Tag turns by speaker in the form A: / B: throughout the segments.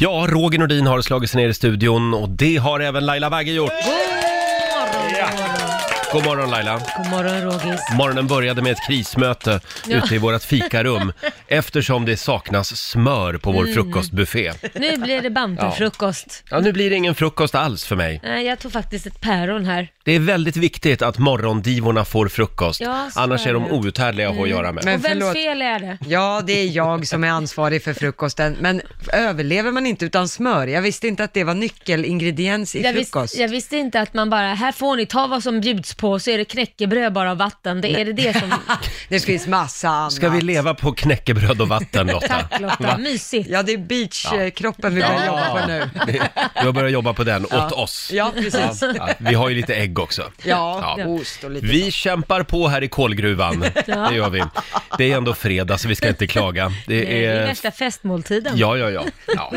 A: Ja, Roger Nordin har slagit sig ner i studion och det har även Laila Bagge gjort. God morgon Laila.
B: God morgon Rogis.
A: Morgonen började med ett krismöte
B: Ja.
A: ute i vårt fikarum eftersom det saknas smör på vår
B: Mm.
A: frukostbuffé.
B: Nu blir det bantufrukost.
A: Ja, nu blir det ingen frukost alls för mig.
B: Nej, Jag tog faktiskt ett päron här.
A: Det är väldigt viktigt att morgondivorna får frukost,
B: Ja, så
A: annars
B: är
A: är de
B: det. Mm.
A: outhärdliga att ha att göra med.
B: och vems fel är det?
C: Ja, det är jag som är ansvarig för frukosten, men överlever man inte utan smör? Jag visste inte att det var nyckelingrediens i
B: Jag, visst,
C: frukost.
B: jag visste inte att man bara, här får ni ta vad som bjuds på så är det knäckebröd bara och vatten. Det, är det det som...
C: Det finns massa annat.
A: Ska vi leva på knäckebröd och vatten Lotta?
B: Tack Lotta, mysigt.
C: Ja, det är beachkroppen vi börjar jobba på nu.
A: Det- Du har börjat jobba på den, åt
C: Ja.
A: oss.
C: Ja, precis.
A: Ja, ja, vi har ju lite ägg också.
C: Ja, ost och lite
A: Vi kämpar på här i kolgruvan,
B: Ja.
A: det gör vi. Det är ändå fredag så vi ska inte klaga.
B: Det
A: Det
B: är
A: är...
B: värsta festmåltiden.
A: Ja, ja, ja, ja.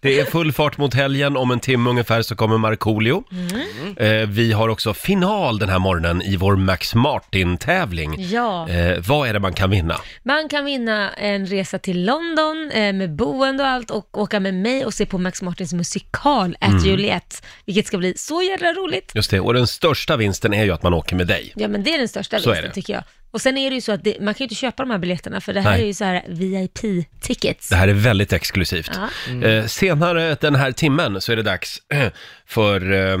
A: Det är full fart mot helgen, om en timme ungefär så kommer Markoolio.
B: Mm.
A: Eh, vi har också final den här morgonen i vår Max Martin-tävling.
B: Ja.
A: Eh, vad är det man kan vinna?
B: Man kan vinna en resa till London eh, med boende och allt och åka med mig och se på Max Martins musikal At
A: Mm.
B: Juliet, vilket ska bli så jädra roligt.
A: Just det, och den största vinsten är ju att man åker med dig.
B: Ja men det är den största
A: Typ. Så är
B: vinsten
A: det.
B: tycker jag. Och sen är det ju så att det, man kan ju inte köpa de här biljetterna för det här
A: Nej.
B: är ju så här VIP-tickets.
A: Det här är väldigt exklusivt.
B: Ja.
A: Eh, senare den här timmen så är det dags för eh,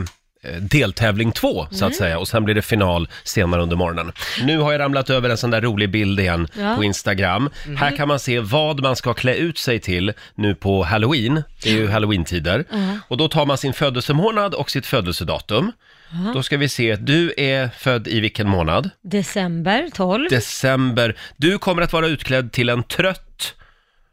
A: deltävling två, så att
B: Mm.
A: säga. Och sen blir det final senare under morgonen. Nu har jag ramlat över en sån där rolig bild igen
B: Ja.
A: på Instagram.
B: Mhm.
A: Här kan man se vad man ska klä ut sig till nu på halloween. Det är ju halloween-tider.
B: Ja.
A: Och då tar man sin födelsemånad och sitt födelsedatum.
B: Ja.
A: Då ska vi se, du är född i vilken månad?
B: December 12.
A: december. Du kommer att vara utklädd till en trött.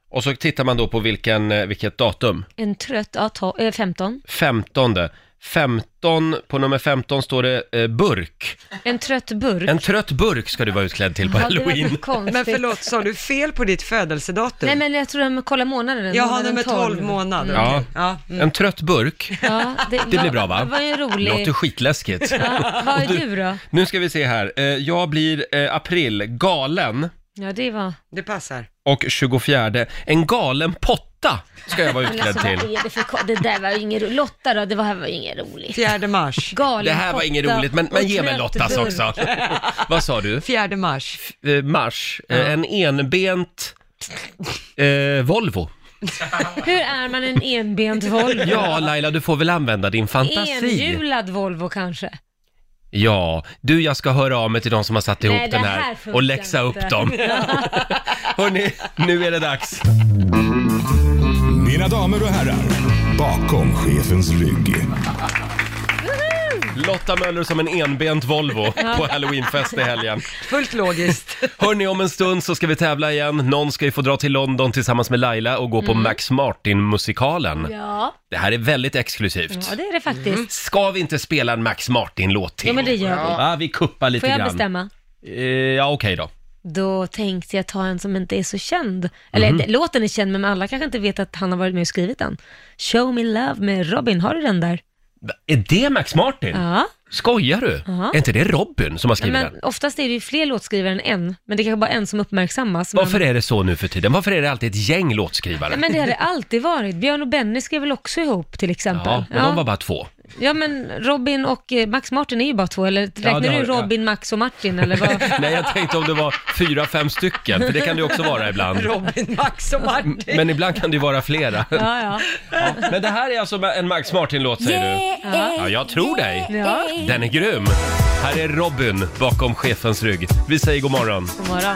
A: Och så tittar man då på vilken, eh, vilket datum.
B: En trött, ja, to- eh, 15.
A: 15. 15, på nummer 15 står det eh, burk.
B: En trött burk.
A: En trött burk ska du vara utklädd till på
B: Ja, det var
A: halloween.
B: konstigt.
C: Men förlåt, sa du fel på ditt födelsedatum?
B: Nej men jag tror de kollar månaden.
C: Jaha,
B: månaden
C: nummer 12 månad.
B: Mm.
A: Ja.
C: Ja,
A: En trött burk.
B: Ja,
A: Det blir bra
B: Det
A: va?
B: var ju roligt.
A: Låter skitläskigt.
B: Ja, vad är
A: Och
B: du då?
A: Nu ska vi se här. Eh, Jag blir eh, april, galen
B: Ja, det var...
C: Det passar.
A: och 24. En galen potta ska jag vara
B: Men
A: utklädd
B: alltså,
A: till.
B: vad är det, för, ko- det där var ju ingen roligt. Lotta då, det var- här var ju inget roligt.
C: 4 mars.
B: Galen
A: Det här var
B: potta
A: inget roligt, men, men
B: och
A: ge mig
B: trött
A: Lottas
B: burk.
A: också. Vad sa du?
C: 4 mars.
A: eh, mars, eh, en enbent eh, Volvo.
B: Hur är man en enbent Volvo?
A: Ja, Laila, du får väl använda din fantasi.
B: Enhjulad Volvo kanske?
A: Ja, du, jag ska höra av mig till de som har satt
B: Nej,
A: ihop
B: det
A: den
B: här
A: här
B: funkar
A: och läxa
B: inte.
A: upp dem. Hörrni, nu är det dags.
D: Mina damer och herrar, bakom chefens rygg.
A: Lotta Möller som en enbent Volvo på halloweenfest i helgen.
C: Fullt logiskt.
A: Hörni, om en stund så ska vi tävla igen. Någon ska ju få dra till London tillsammans med Laila och gå på Max Martin-musikalen.
B: Mm. Ja,
A: Det här är väldigt exklusivt.
B: ja det är det faktiskt.
A: Mm. Ska vi inte spela en Max Martin-låt till?
B: Ja, men det gör vi.
A: Ja, vi kuppar lite
B: Får jag
A: grann.
B: bestämma?
A: Eh, ja, okej då.
B: Då tänkte jag ta en som inte är så känd. Eller
A: Mhm.
B: det- låten är känd, men alla kanske inte vet att han har varit med och skrivit den. Show Me Love med Robin, har du den där?
A: Är det Max Martin?
B: Ja.
A: Skojar du?
B: Ja.
A: Är inte det Robin som har skrivit
B: Men
A: den?
B: oftast är det ju fler låtskrivare än en, men det kanske bara är en som uppmärksammas.
A: Varför
B: men...
A: är det så nu för tiden? Varför är det alltid ett gäng låtskrivare?
B: Ja, men det har det alltid varit. Björn och Benny skrev väl också ihop till exempel?
A: Ja, men de var bara två.
B: Ja, men Robin och eh, Max Martin är ju bara två, eller räknar
A: det har-
B: du Robin, Max och Martin, eller vad?
A: Nej, jag tänkte om det var fyra, fem stycken, för det kan det ju också vara ibland.
C: Robin, Max och Martin.
A: Men ibland kan det ju vara flera.
B: ja, ja.
A: Ja, Men det här är alltså en Max Martin-låt säger du?
B: Ja.
A: Ja, jag tror dig.
B: Ja.
A: Den är grym. Här är Robin bakom chefens rygg. Vi säger god morgon.
B: God morgon.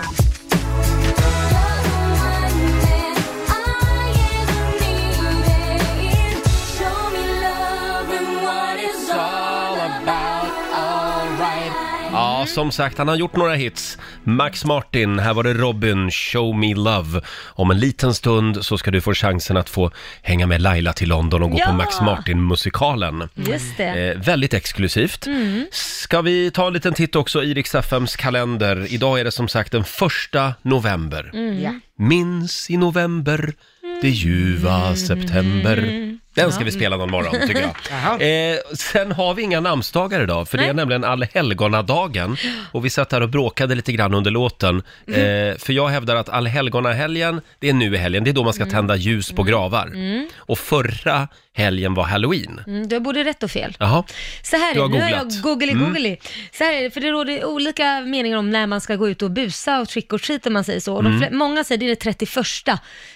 A: Ja, som sagt, han har gjort några hits. Max Martin, här var det Robin, Show Me Love. Om en liten stund så ska du få chansen att få hänga med Laila till London och gå
B: Ja!
A: på Max Martin-musikalen.
B: Just det.
A: Eh, väldigt exklusivt.
B: Mm.
A: Ska vi ta en liten titt också i Rix FMs kalender? Idag är det som sagt den första november.
B: Mm.
A: Minns i november, det ljuva september. Den ska vi spela någon morgon, tycker jag.
C: Jaha.
A: Eh, sen har vi inga namnsdagar idag, för det är
B: Nej.
A: nämligen allhelgonadagen. Och vi satt här och bråkade lite grann under låten.
B: Mm.
A: Eh, för jag hävdar att allhelgonahelgen, det är nu i helgen, det är då man
B: Mm.
A: ska tända ljus på gravar. Och förra helgen var halloween.
B: Mm, du har både rätt och fel.
A: Jaha.
B: Så här är
A: Du har
B: det, nu har
A: googlat. Mm.
B: jag googly googly. Så här är det, för det råder olika meningar om när man ska gå ut och busa och trick or treat om man säger så. Och
A: Mm.
B: de flä- många säger det är det 31.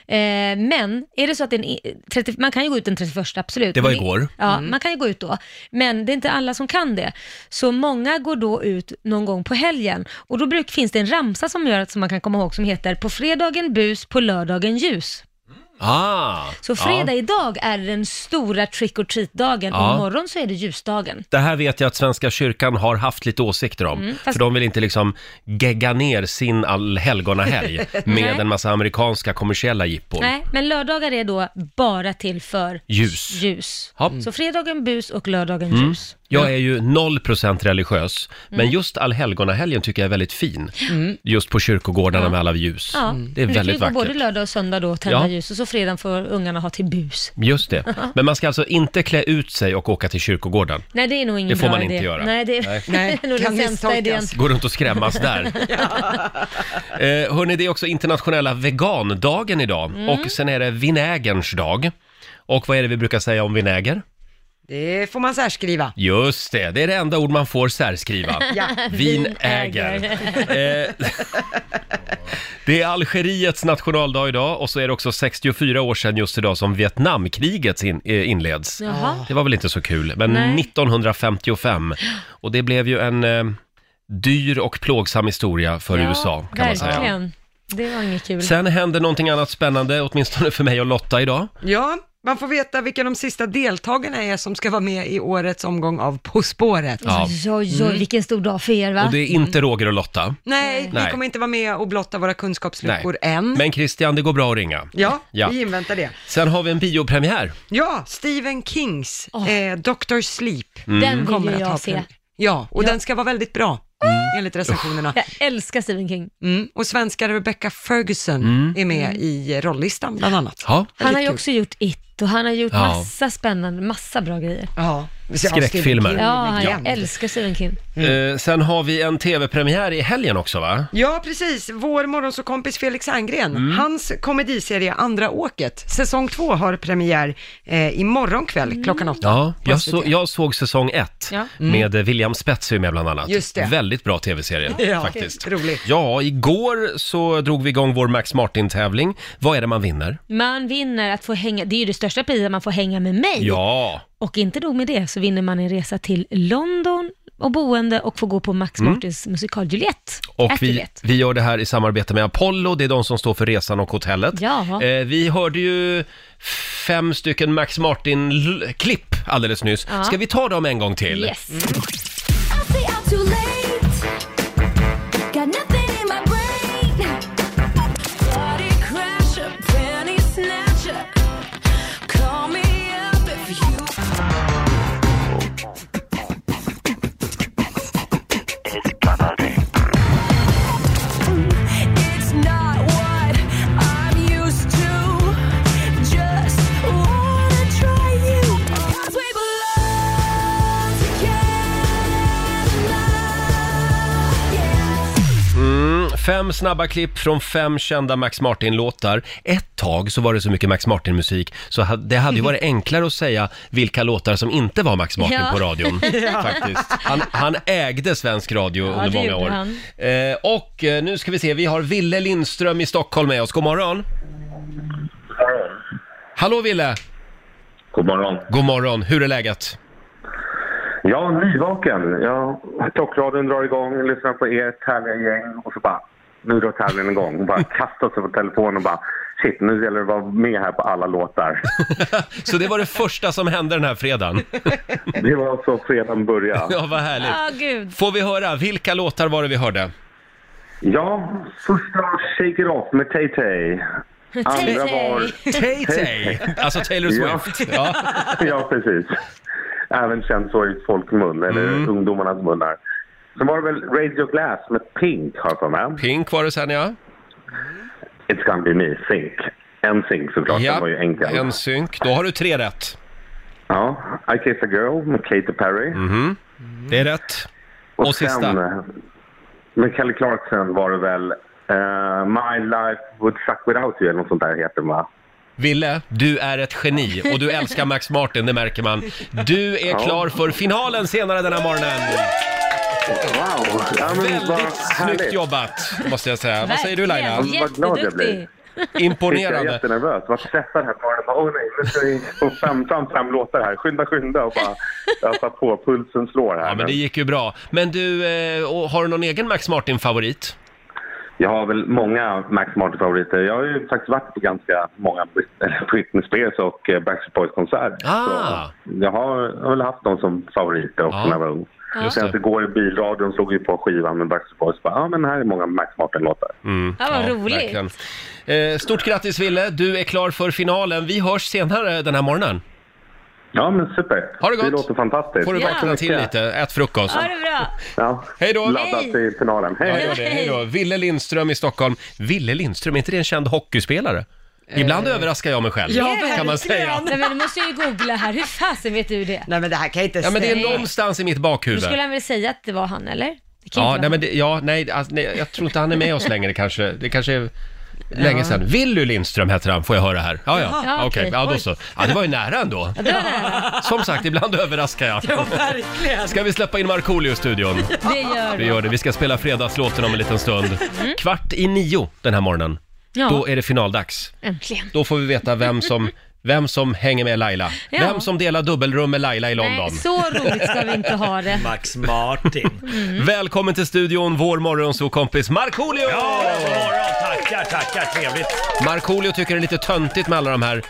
B: Eh, men är det så att den är 30, man kan ju gå ut den 31, absolut.
A: Det var
B: Men
A: igår.
B: Ja,
C: Mm.
B: man kan ju gå ut då. Men det är inte alla som kan det. Så många går då ut någon gång på helgen. Och då bruk, finns det en ramsa som gör att som man kan komma ihåg som heter på fredagen bus, på lördagen ljus.
A: Ah,
B: Så
A: ja.
B: fredag idag är den stora trick or treat-dagen
A: Ja.
B: och imorgon så är det ljusdagen.
A: Det här vet jag att Svenska kyrkan har haft lite åsikter om.
B: Mm, fast-
A: För de vill inte liksom gegga ner sin allhelgonahelg med
B: Nej.
A: en massa amerikanska kommersiella jippon.
B: Nej, men lördagar är då bara till för
A: Ljus.
B: ljus.
A: Ja. Mm.
B: Så fredagen bus och lördagen ljus. Mm.
A: Jag är ju 0% religiös, men just allhelgonahelgen tycker jag är väldigt fin. Just på kyrkogårdarna med alla ljus.
B: Ja,
A: Mm. Det är
B: men
A: väldigt
B: Du kan ju gå både
A: vackert.
B: lördag och söndag då och tända
A: Ja.
B: ljus och så fredagen får ungarna ha till bus.
A: Just det. Men man ska alltså inte klä ut sig och åka till kyrkogården.
B: Nej, det är nog ingen
A: Det får
B: bra
A: man
B: idé.
A: inte göra.
B: Nej, det är,
C: Nej,
B: det är nog
C: kan
B: den sämsta
C: misstolkas.
B: idén.
A: Gå runt och skrämmas där. eh, hörni, det är också internationella vegandagen idag.
B: Mm.
A: Och sen är det vinägerns dag. Och vad är det vi brukar säga om vinäger?
C: Det får man särskriva.
A: Just det, det är det enda ord man får särskriva.
C: Ja.
A: Vinäger. Eh, det är Algeriets nationaldag idag och så är det också 64 år sedan just idag som Vietnamkriget in, eh, inleds.
B: Jaha.
A: Det var väl inte så kul, men
B: Nej.
A: 1955. Och det blev ju en eh, dyr och plågsam historia för
B: Ja,
A: USA, kan man säga.
B: verkligen. Det var inget kul.
A: Sen hände någonting annat spännande, åtminstone för mig och Lotta idag.
C: Ja, man får veta vilka de sista deltagarna är som ska vara med i årets omgång av På spåret.
A: Ja.
B: Oj, oj, oj, vilken stor dag för er va?
A: Och det är inte Roger och Lotta.
C: Mm. Nej,
A: Nej.
C: vi kommer inte vara med och blotta våra kunskapsluckor
A: Nej.
C: än.
A: Men Christian, det går bra att ringa.
C: Ja,
A: Ja.
C: vi inväntar det.
A: Sen har vi en biopremiär.
C: Ja, Stephen Kings,
B: Åh.
C: eh, Dr. Sleep.
A: Mm.
B: Den
C: Kommer
B: vill ju
C: att ha
B: jag se.
C: premiär. Ja, och den ska vara väldigt bra,
A: Mm.
C: enligt recensionerna.
B: Jag älskar Stephen King.
C: Mm. Och svenska Rebecca Ferguson är med i rolllistan bland annat.
A: Mm. Ja.
B: Mm. Han har ju
C: kul.
B: också gjort It och han har gjort
A: Ja.
B: massa spännande, massa bra grejer.
C: Ja.
A: Skräckfilmer.
C: Stephen King
B: Ja,
C: är
B: han, jag
C: legend.
B: älskar Stephen King.
C: Mm.
A: Eh, sen har vi en tv-premiär i helgen också va?
C: Ja, precis. Vår morgonsåkompis Felix Herngren,
A: Mm.
C: hans komediserie Andra åket, säsong två har premiär eh, imorgon kväll
B: Mm.
C: klockan åtta.
A: Ja,
C: på
A: jag,
C: SVT.
A: så, jag såg säsong ett
B: Ja.
A: med eh, William Spetsy med bland annat.
C: Mm. Just det.
A: Väldigt bra tv-serie
C: Ja,
A: faktiskt.
C: roligt.
A: Ja, igår så drog vi igång vår Max Martin-tävling. Vad är det man vinner?
B: Man vinner att få hänga, det är ju det största priset, man får hänga med mig.
A: Ja,
B: Och inte nog med det, så vinner man en resa till London och boende och får gå på Max Martins musikal Juliette.
A: Mm. och
B: At
A: vi,
B: Juliette.
A: vi gör det här i samarbete med Apollo. Det är de som står för resan och hotellet.
B: Ja.
A: Eh, vi hörde ju fem stycken Max Martin-klipp alldeles nyss.
B: Ja.
A: Ska vi ta dem en gång till?
B: Yes.
E: Mm. I say I'm too late. Got nothing in my brain. Body crasher, penny snatcher. Call me up if you. It's not what I'm used to. Just wanna try you. Cause we belong together. Yeah.
A: Mm, fem snabba klipp från fem kända Max Martin-låtar. Ett tag så var det så mycket Max Martin-musik så ha- det hade ju varit enklare att säga vilka låtar som inte var Max Martin
B: Ja.
A: på radion. Faktiskt. Han, han ägde svensk radio
B: Ja,
A: under
B: det
A: många
B: gjorde
A: år.
B: han.
A: Eh, och eh, nu ska vi se, vi har Ville Lindström i Stockholm med oss. God morgon! Hallå Ville!
F: God morgon.
A: God morgon, hur är läget?
F: Ja, nyvaken. Ja, tockradion drar igång, lyssnar på er härliga gäng och så bara, nu drar tävlingen igång. Hon bara kastar sig på telefonen och bara, shit, nu gäller det att vara med här på alla låtar.
A: Så det var det första som hände den här fredagen.
F: Det var så fredagen började.
A: Ja, vad härligt.
B: Ja, gud.
A: Får vi höra, vilka låtar var det vi hörde?
F: Ja, första var Shake It Off med Tay-Tay. Andra var,
A: Tay Tay! Alltså Taylor
F: Ja.
A: Swift. Ja.
F: ja precis, även känd så i folkmun, eller
A: Mm.
F: ungdomarnas munnar. Sen var det väl Radio Glass med Pink, har jag för mig.
A: Pink var det sen ja.
F: It's gonna be me, Think. En Think såklart, den var ju enkel.
A: en synk. Då har du tre rätt.
F: Ja, I Kissed a Girl med Katy Perry.
A: Mhm. Det är rätt. Och sista.
F: Sen, eh, med Kelly Clarkson var det väl eh, My Life Would Suck Without You eller något sånt där heter den va?
A: Ville, du är ett geni och du älskar Max Martin, det märker man. Du är klar för finalen senare den här morgonen.
F: Wow! Ja, men vad
A: Väldigt snyggt
F: härligt.
A: jobbat, måste jag säga. Vad säger du Laila?
F: Verkligen. Vad glad jag blir.
B: Jätteduktig.
F: Jag är
A: Imponerande.
F: jättenervös. Var stressad här på morgonen. Bara, Åh nej, nu ska vi få fem, fram fem låtar här. Skynda, skynda och bara ösa på. Pulsen slår här.
A: Ja, men det gick ju bra. Men du, eh, och har du någon egen Max Martin-favorit?
F: Jag har väl många Max Martin-favoriter. Jag har ju faktiskt varit på ganska många Brit- eller Britney Spears och eh, Backstreet Boys-konserter.
A: Ah.
F: Så Jag har, jag har väl haft dem som favoriter också
A: Ja.
F: när jag var ung.
A: Just
F: Sen
A: det.
F: igår i bilradion slog vi på skivan med Backstreet Boys. Bara, Ja, men här är många Max Martin-låtar.
A: Mm,
B: Ja, vad roligt.
A: verkligen. Eh, Stort grattis Ville, du är klar för finalen. Vi hörs senare den här morgonen.
F: Ja, men super.
A: Ha det gott.
F: Det låter fantastiskt.
A: Får du
B: Ja.
A: vakna till lite, ät frukost.
B: Ha det bra.
F: Ja.
A: Hej då!
F: Ladda
B: Hej.
F: till finalen. Hej,
A: Ja,
F: hej.
A: gör det. Hej då. Ville Lindström i Stockholm. Ville Lindström, är inte det en känd hockeyspelare? Ibland
B: Eh,
A: överraskar jag mig själv,
C: Ja,
A: kan man säga.
B: Nej, men du måste ju googla här. Hur fasen vet du det?
C: Nej men det här kan inte
A: Ja, men det är
C: stämma.
A: någonstans i mitt
B: Då
A: bakhuvud.
B: skulle han väl säga att det var han, eller? Det kan
A: Ja,
B: inte
A: nej,
B: vara
A: men det, ja, nej, alltså, nej, jag tror inte han är med oss längre kanske. Det kanske är länge sedan. Willy Lindström heter han, får jag höra här. Ja, ja,
B: Ja,
A: okej.
B: okej.
A: Ja, då så. Ja, det var ju nära ändå.
B: han. Ja, det var nära.
A: Som sagt, ibland överraskar jag.
C: Ja, verkligen.
A: Ska vi släppa in Markoolio i studion?
B: Det gör
A: Vi
B: du.
A: gör det. Vi ska spela fredagslåten om en liten stund. Kvart i nio den här morgonen.
B: Mm. Ja.
A: Då är det finaldags.
B: Äntligen.
A: Då får vi veta vem som, vem som hänger med Laila.
B: Ja.
A: Vem som delar dubbelrum med Laila i London.
B: Nej, så roligt ska vi inte ha det. Mm.
G: Max Martin.
A: Välkommen till studion, vår morgonsåkompis Markoolio!
G: Ja, god morgon. Tackar, tackar. Trevligt.
A: Markoolio tycker det är lite töntigt med alla de här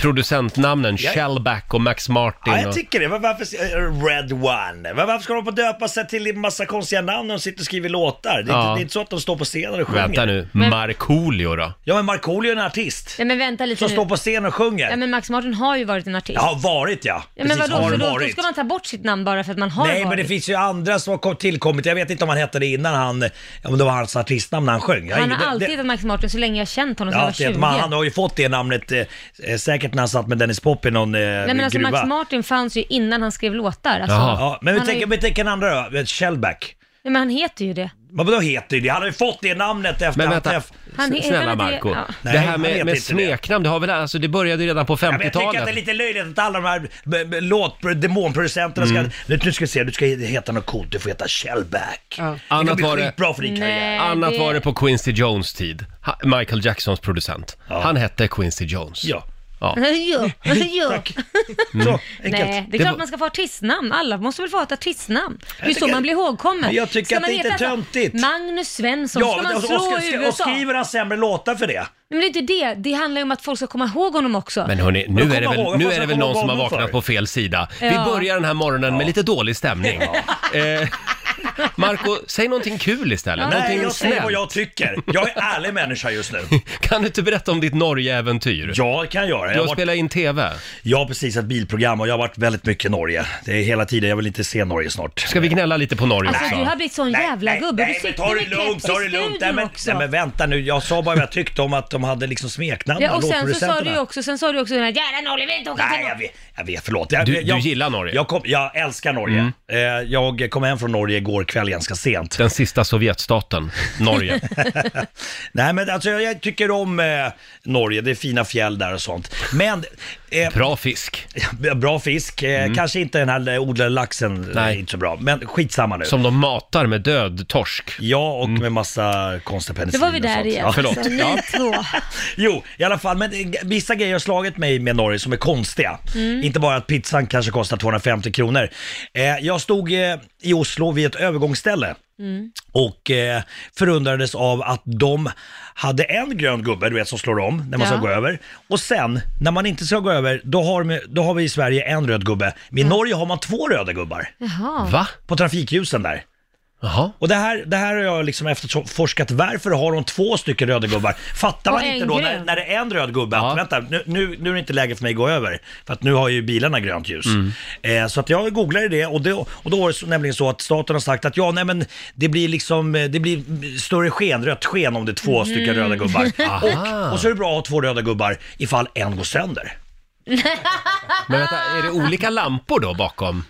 A: producentnamnen,
G: Ja.
A: Shellback och Max Martin.
G: Ja, jag
A: och...
G: tycker det. Var- Varför, eh, Red One. Var- Varför ska de på döpa sig till en massa konstiga namn när de sitter och skriver låtar? Det är,
A: Ja.
G: inte, det är inte så att de står på scenen och sjunger.
A: Vänta nu, Markoolio då?
G: Ja, men Markoolio är en artist.
B: Nej, men vänta lite
G: Som står
B: nu.
G: på scen och sjunger.
B: Ja, men Max Martin har ju varit en artist.
G: Jag har varit ja.
B: Ja, men vadå,
G: har
B: så då, då
G: varit.
B: ska man ta bort sitt namn bara för att man har
G: Nej,
B: varit?
G: men det finns ju andra som har kom- tillkommit. Jag vet inte om han hette det innan han, om det var hans artistnamn när han sjöng. Jag,
B: Han har
G: det-
B: alltid
G: det-
B: hetat Max Martin så länge jag har känt honom,
G: Ja,
B: sedan jag
G: det,
B: var
G: man,
B: 20.
G: han har ju fått det namnet eh, eh, säkert när han satt med Dennis Pop i någon eh,
B: Nej men alltså
G: gruva.
B: Max Martin fanns ju innan han skrev låtar. Alltså,
A: Jaha.
G: ja, men vi
B: Han har
G: tänker,
B: ju-
G: vi tänker en andra då, Shellback.
B: Nej, men han heter ju det.
G: Vad då heter det? Han har ju fått det namnet efter
A: Men
G: han
A: vänta,
G: träff-
B: Han
A: s-
B: he-
A: snälla
B: han heter-
A: Marco.
B: ja.
A: Det
G: Nej,
A: här
G: han
A: med,
G: heter
A: med
G: inte det.
A: smeknamn, det har väl, alltså det började ju redan på
G: Ja, men jag tycker att det är
A: 50-talet.
G: lite löjligt att alla de här b- b- låt demonproducenterna
A: Mm.
G: ska... Nu, nu ska vi se, du ska heta något coolt, du får heta Shellback. Det kommer
A: Annat
G: bli
A: var det-
G: skitbra för din karriär.
B: Nej,
A: Annat
B: det-
A: var det på Quincy Jones tid. Ha- Michael Jacksons producent. Han hette Quincy Jones.
G: Ja,
B: jo, jo.
G: tack. Så, enkelt.
B: Nej, det är
A: Det
B: klart
A: var-
B: man ska få artistnamn. Alla måste väl få ett artistnamn? Det är ju så
G: tycker-
B: man blir ihågkommen.
G: Jag tycker
B: ska
G: att
B: man
G: det inte är
B: heta
G: töntigt.
B: Magnus Svensson,
G: Ja, alltså,
B: ska
G: och,
B: man
G: och,
B: slå
G: och,
B: i
G: och,
B: USA?
G: skriver han sämre låtar för det?
B: Nej, men det är inte det. Det handlar ju om att folk ska komma ihåg honom också.
A: Men hörni,
G: Men
A: nu
G: kom
A: är det väl,
G: ihåg,
A: nu
G: vad
A: är det
G: fan
A: väl
G: ska
A: någon
G: man
A: som har
G: vara
A: vaknat
G: för?
A: på fel sida.
B: Ja.
A: Vi börjar den här morgonen med lite dålig stämning. Eh, Marco, säg någonting kul istället.
G: Nej,
A: någonting
G: jag säger vad
A: snällt.
G: jag tycker. Jag är ärlig människa just nu.
A: Kan du inte berätta om ditt Norge-äventyr?
G: Jag kan göra.
A: Du
G: Jag
A: har
G: har, varit,
A: spelat in TV.
G: jag har precis ett bilprogram och jag har varit väldigt mycket i Norge. Det är hela tiden, jag vill inte se Norge snart.
A: Ska vi gnälla lite på Norge
B: Alltså
A: också?
B: du har blivit sån jävla gubbe.
G: nej,
B: du
G: men Alltså, ta det lugnt, ta det lugnt. Nej, men, nej, men vänta nu, jag sa bara vad jag tyckte om att de hade liksom smeknamn,
B: Ja, och sen så sa du ju
G: låtproducenterna.
B: också, sen sa du också den här jävla Norge, vi inte åka
G: Nej,
B: till
G: jag vet, jag vet förlåt. Jag,
A: Du-
G: jag,
A: du gillar Norge? Mm.
G: Jag, kom, jag älskar Norge. Eh, jag kom hem från Norge igår kväll ganska sent.
A: Den sista Sovjetstaten, Norge.
G: Nej, men alltså jag, jag tycker om eh, Norge, det är fina fjäll där och sånt. Men... eh,
A: Bra fisk, Mm.
G: Bra fisk, eh, kanske inte den här odlade laxen,
A: Nej.
G: Nej. inte så bra. Men skitsamma nu.
A: som de matar med död torsk. Mm.
G: Ja, och med massa konstiga
B: Då
G: penicillin
B: var vi
G: och
B: där
G: sånt.
B: igen.
G: Ja.
A: förlåt.
B: Så, ni
A: Ja.
B: två.
G: Jo, i alla fall. Men eh, g- vissa grejer har slagit mig med Norge som är konstiga. Inte bara att pizzan kanske kostar 250 kronor. Eh, jag stod eh, i Oslo vid ett övergångsställe.
B: Mm.
G: Och eh, förundrades av att de hade en grön gubbe, du vet, som slår om när man
B: Ja.
G: ska gå över. Och sen, när man inte ska gå över, då har, de, då har vi i Sverige en röd gubbe. Men i Norge har man två röda gubbar
B: Jaha.
A: Va?
G: på trafikljusen där.
A: Jaha.
G: Och det här, det här har jag liksom efterforskat. Varför har de två stycken röda gubbar? Fattar
B: Och
G: man inte
B: en
G: då
B: grön.
G: när, när det är en röd gubbe
A: Ja.
G: att vänta, nu, nu, nu är det inte läge för mig att gå över. För att nu har ju bilarna grönt ljus.
A: Mm.
G: Eh, så att jag googlade det och, det och då var det så, nämligen så att staten har sagt att ja, nej men det blir liksom, eh, det blir större sken, rött sken om det är två stycken röda
A: Mm.
G: gubbar. Och, och så är det bra att ha två röda gubbar ifall en går sönder.
A: Men vänta, är det olika lampor då bakom?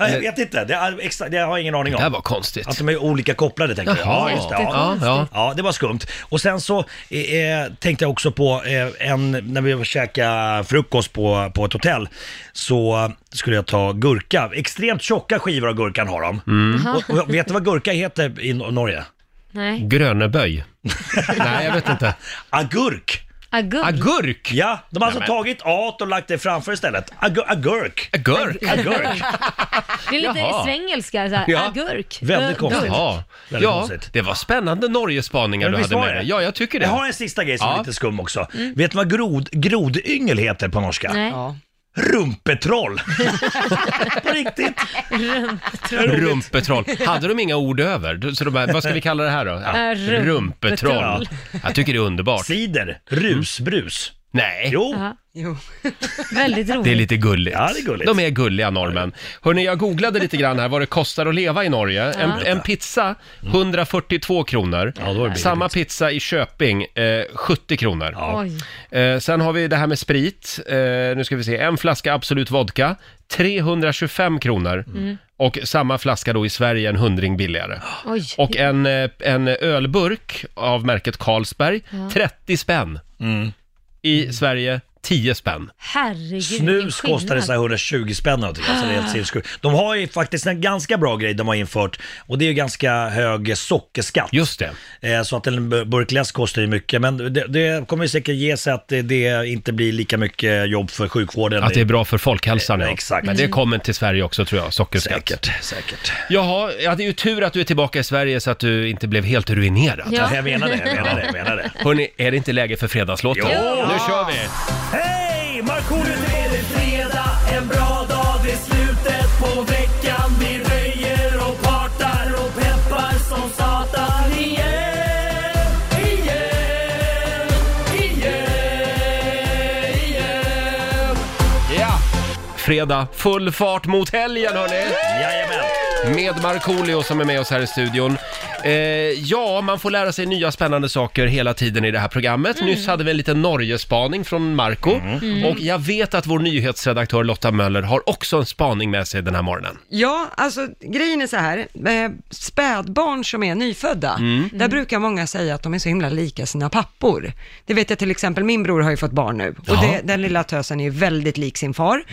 G: Nej, Jag vet inte, det, är, extra, det har jag ingen aning
A: Det här
G: om.
A: var konstigt.
G: Att de är olika kopplade tänker jag.
A: Jaha.
G: Ja, just det.
A: Ja,
G: Ja.
A: ja.
G: Ja, det var skumt. Och sen så eh, eh, tänkte jag också på eh, en, när vi var käka frukost på, på ett hotell, så eh, skulle jag ta gurka. Extremt tjocka skivor av gurkan har de.
A: Mm.
G: Och, och vet du vad gurka heter i Nor- Norge?
B: Nej.
A: Gröneböj? Nej, jag vet inte.
G: Agurk!
B: Agurk.
A: Agurk?
G: Ja, de har alltså
A: Nämen.
G: tagit A och lagt det framför istället. Agur, agurk!
A: Agurk?
G: Agurk!
B: Det är lite
A: Jaha.
B: svängelska. Så här.
A: Ja.
B: Agurk.
G: Väldigt konstigt.
A: Jaha.
G: Väldigt
A: Ja,
G: konstigt.
A: det var spännande Norgespaningar du
G: Men visst
A: hade
G: var
A: med dig. Ja, jag tycker det.
G: Jag har en sista grej som
A: Ja.
G: är lite skum också. Vet du vad grod, grodyngel heter på norska?
B: Mm. Nej.
C: Ja.
G: Rumpetroll! på riktigt! Rumpetroll.
A: Rumpetroll. Hade de inga ord över? Så de bara, vad ska vi kalla det här då? Ja,
B: Äh, rumpetroll.
A: rumpetroll. Jag tycker det är underbart. Mm.
G: Cider, rusbrus.
A: Nej,
G: Jo,
B: Ja.
C: Jo.
B: Väldigt roligt.
A: det är lite gulligt.
G: Ja, det är gulligt.
A: De är gulliga norrmän. Hörni, jag googlade lite grann här vad det kostar att leva i Norge. En, en pizza, 142 kronor.
G: Mm. då är det billigt.
A: Samma pizza i Köping, eh, 70 kronor.
B: Oj.
A: Eh, sen har vi det här med sprit. Eh, nu ska vi se, en flaska Absolut Vodka, 325 kronor.
B: Mm.
A: Och samma flaska då i Sverige, en hundring billigare.
B: Oj.
A: Och en, eh, en ölburk av märket Carlsberg, 30 spänn. Mm. I Sverige, 10 spänn.
B: Herregud, vilken
G: snus kostar det
B: skillnad. Ah.
G: så här 120 spänn någonting. Alltså, det är helt sinnessjukt. De har ju faktiskt en ganska bra grej de har infört och det är ju ganska hög sockerskatt.
A: Just det.
G: Eh, Så att en bur- burk läsk kostar ju mycket, men det, det kommer ju säkert ge sig att det- det inte blir lika mycket jobb för sjukvården.
A: Att det är bra för folkhälsan, ja.
G: Eh, exakt.
A: Men det kommer till Sverige också, tror jag, sockerskatt.
G: Säkert, säkert.
A: Jaha, ja, det är ju tur att du är tillbaka i Sverige så att du inte blev helt ruinerad.
B: Ja.
G: Jag menar det, jag menar det, jag menar det.
A: Hörni, är det inte läge för fredagslåten?
G: Jo!
A: Nu kör vi!
G: Hej! Markoolio! Nu är det fredag, en bra dag, det är slutet på veckan. Vi röjer och partar och peppar som satan igen. Igen, igen, igen.
A: Ja! Fredag, full fart mot helgen hörni!
G: Jajamän.
A: Med Markoolio som är med oss här i studion. Eh, ja, man får lära sig nya spännande saker hela tiden i det här programmet.
C: Mm.
A: Nyss hade vi en liten Norgespaning från Marco Och jag vet att vår nyhetsredaktör Lotta Möller har också en spaning med sig den här morgonen.
C: Ja, alltså grejen är så här, eh, spädbarn som är nyfödda, där brukar många säga att de är så himla lika sina pappor. Det vet jag till exempel, min bror har ju fått barn nu och det, den lilla tösen är ju väldigt lik sin far,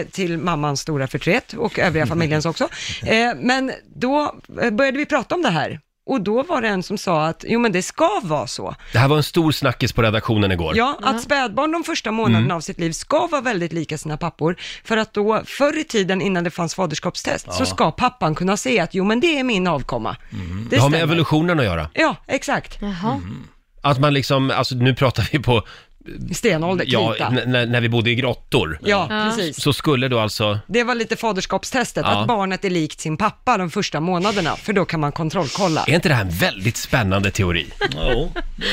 C: eh, till mammans stora förtret och övriga familjens också. Eh, men då eh, började vi prata om det här och då var det en som sa att, jo men det ska vara så.
A: Det här var en stor snackis på redaktionen igår.
C: Ja, att spädbarn de första månaderna
A: Mm.
C: av sitt liv ska vara väldigt lika sina pappor, för att då förr i tiden innan det fanns faderskapstest så ska pappan kunna se att jo men det är min avkomma. Det
A: Mm. Det har med
C: stämmer.
A: evolutionen att göra.
C: Ja, exakt.
B: Jaha.
A: Att man liksom, alltså nu pratar vi på,
C: Stenålder,
A: Mm. ja,
C: krita.
A: n- när, när vi bodde i grottor.
C: Ja, precis.
A: Så skulle då alltså,
C: Det var lite faderskapstestet,
A: Ja.
C: att barnet är likt sin pappa de första månaderna, för då kan man kontrollkolla.
A: är inte det här en väldigt spännande teori?
G: Jo, det är
B: Ja,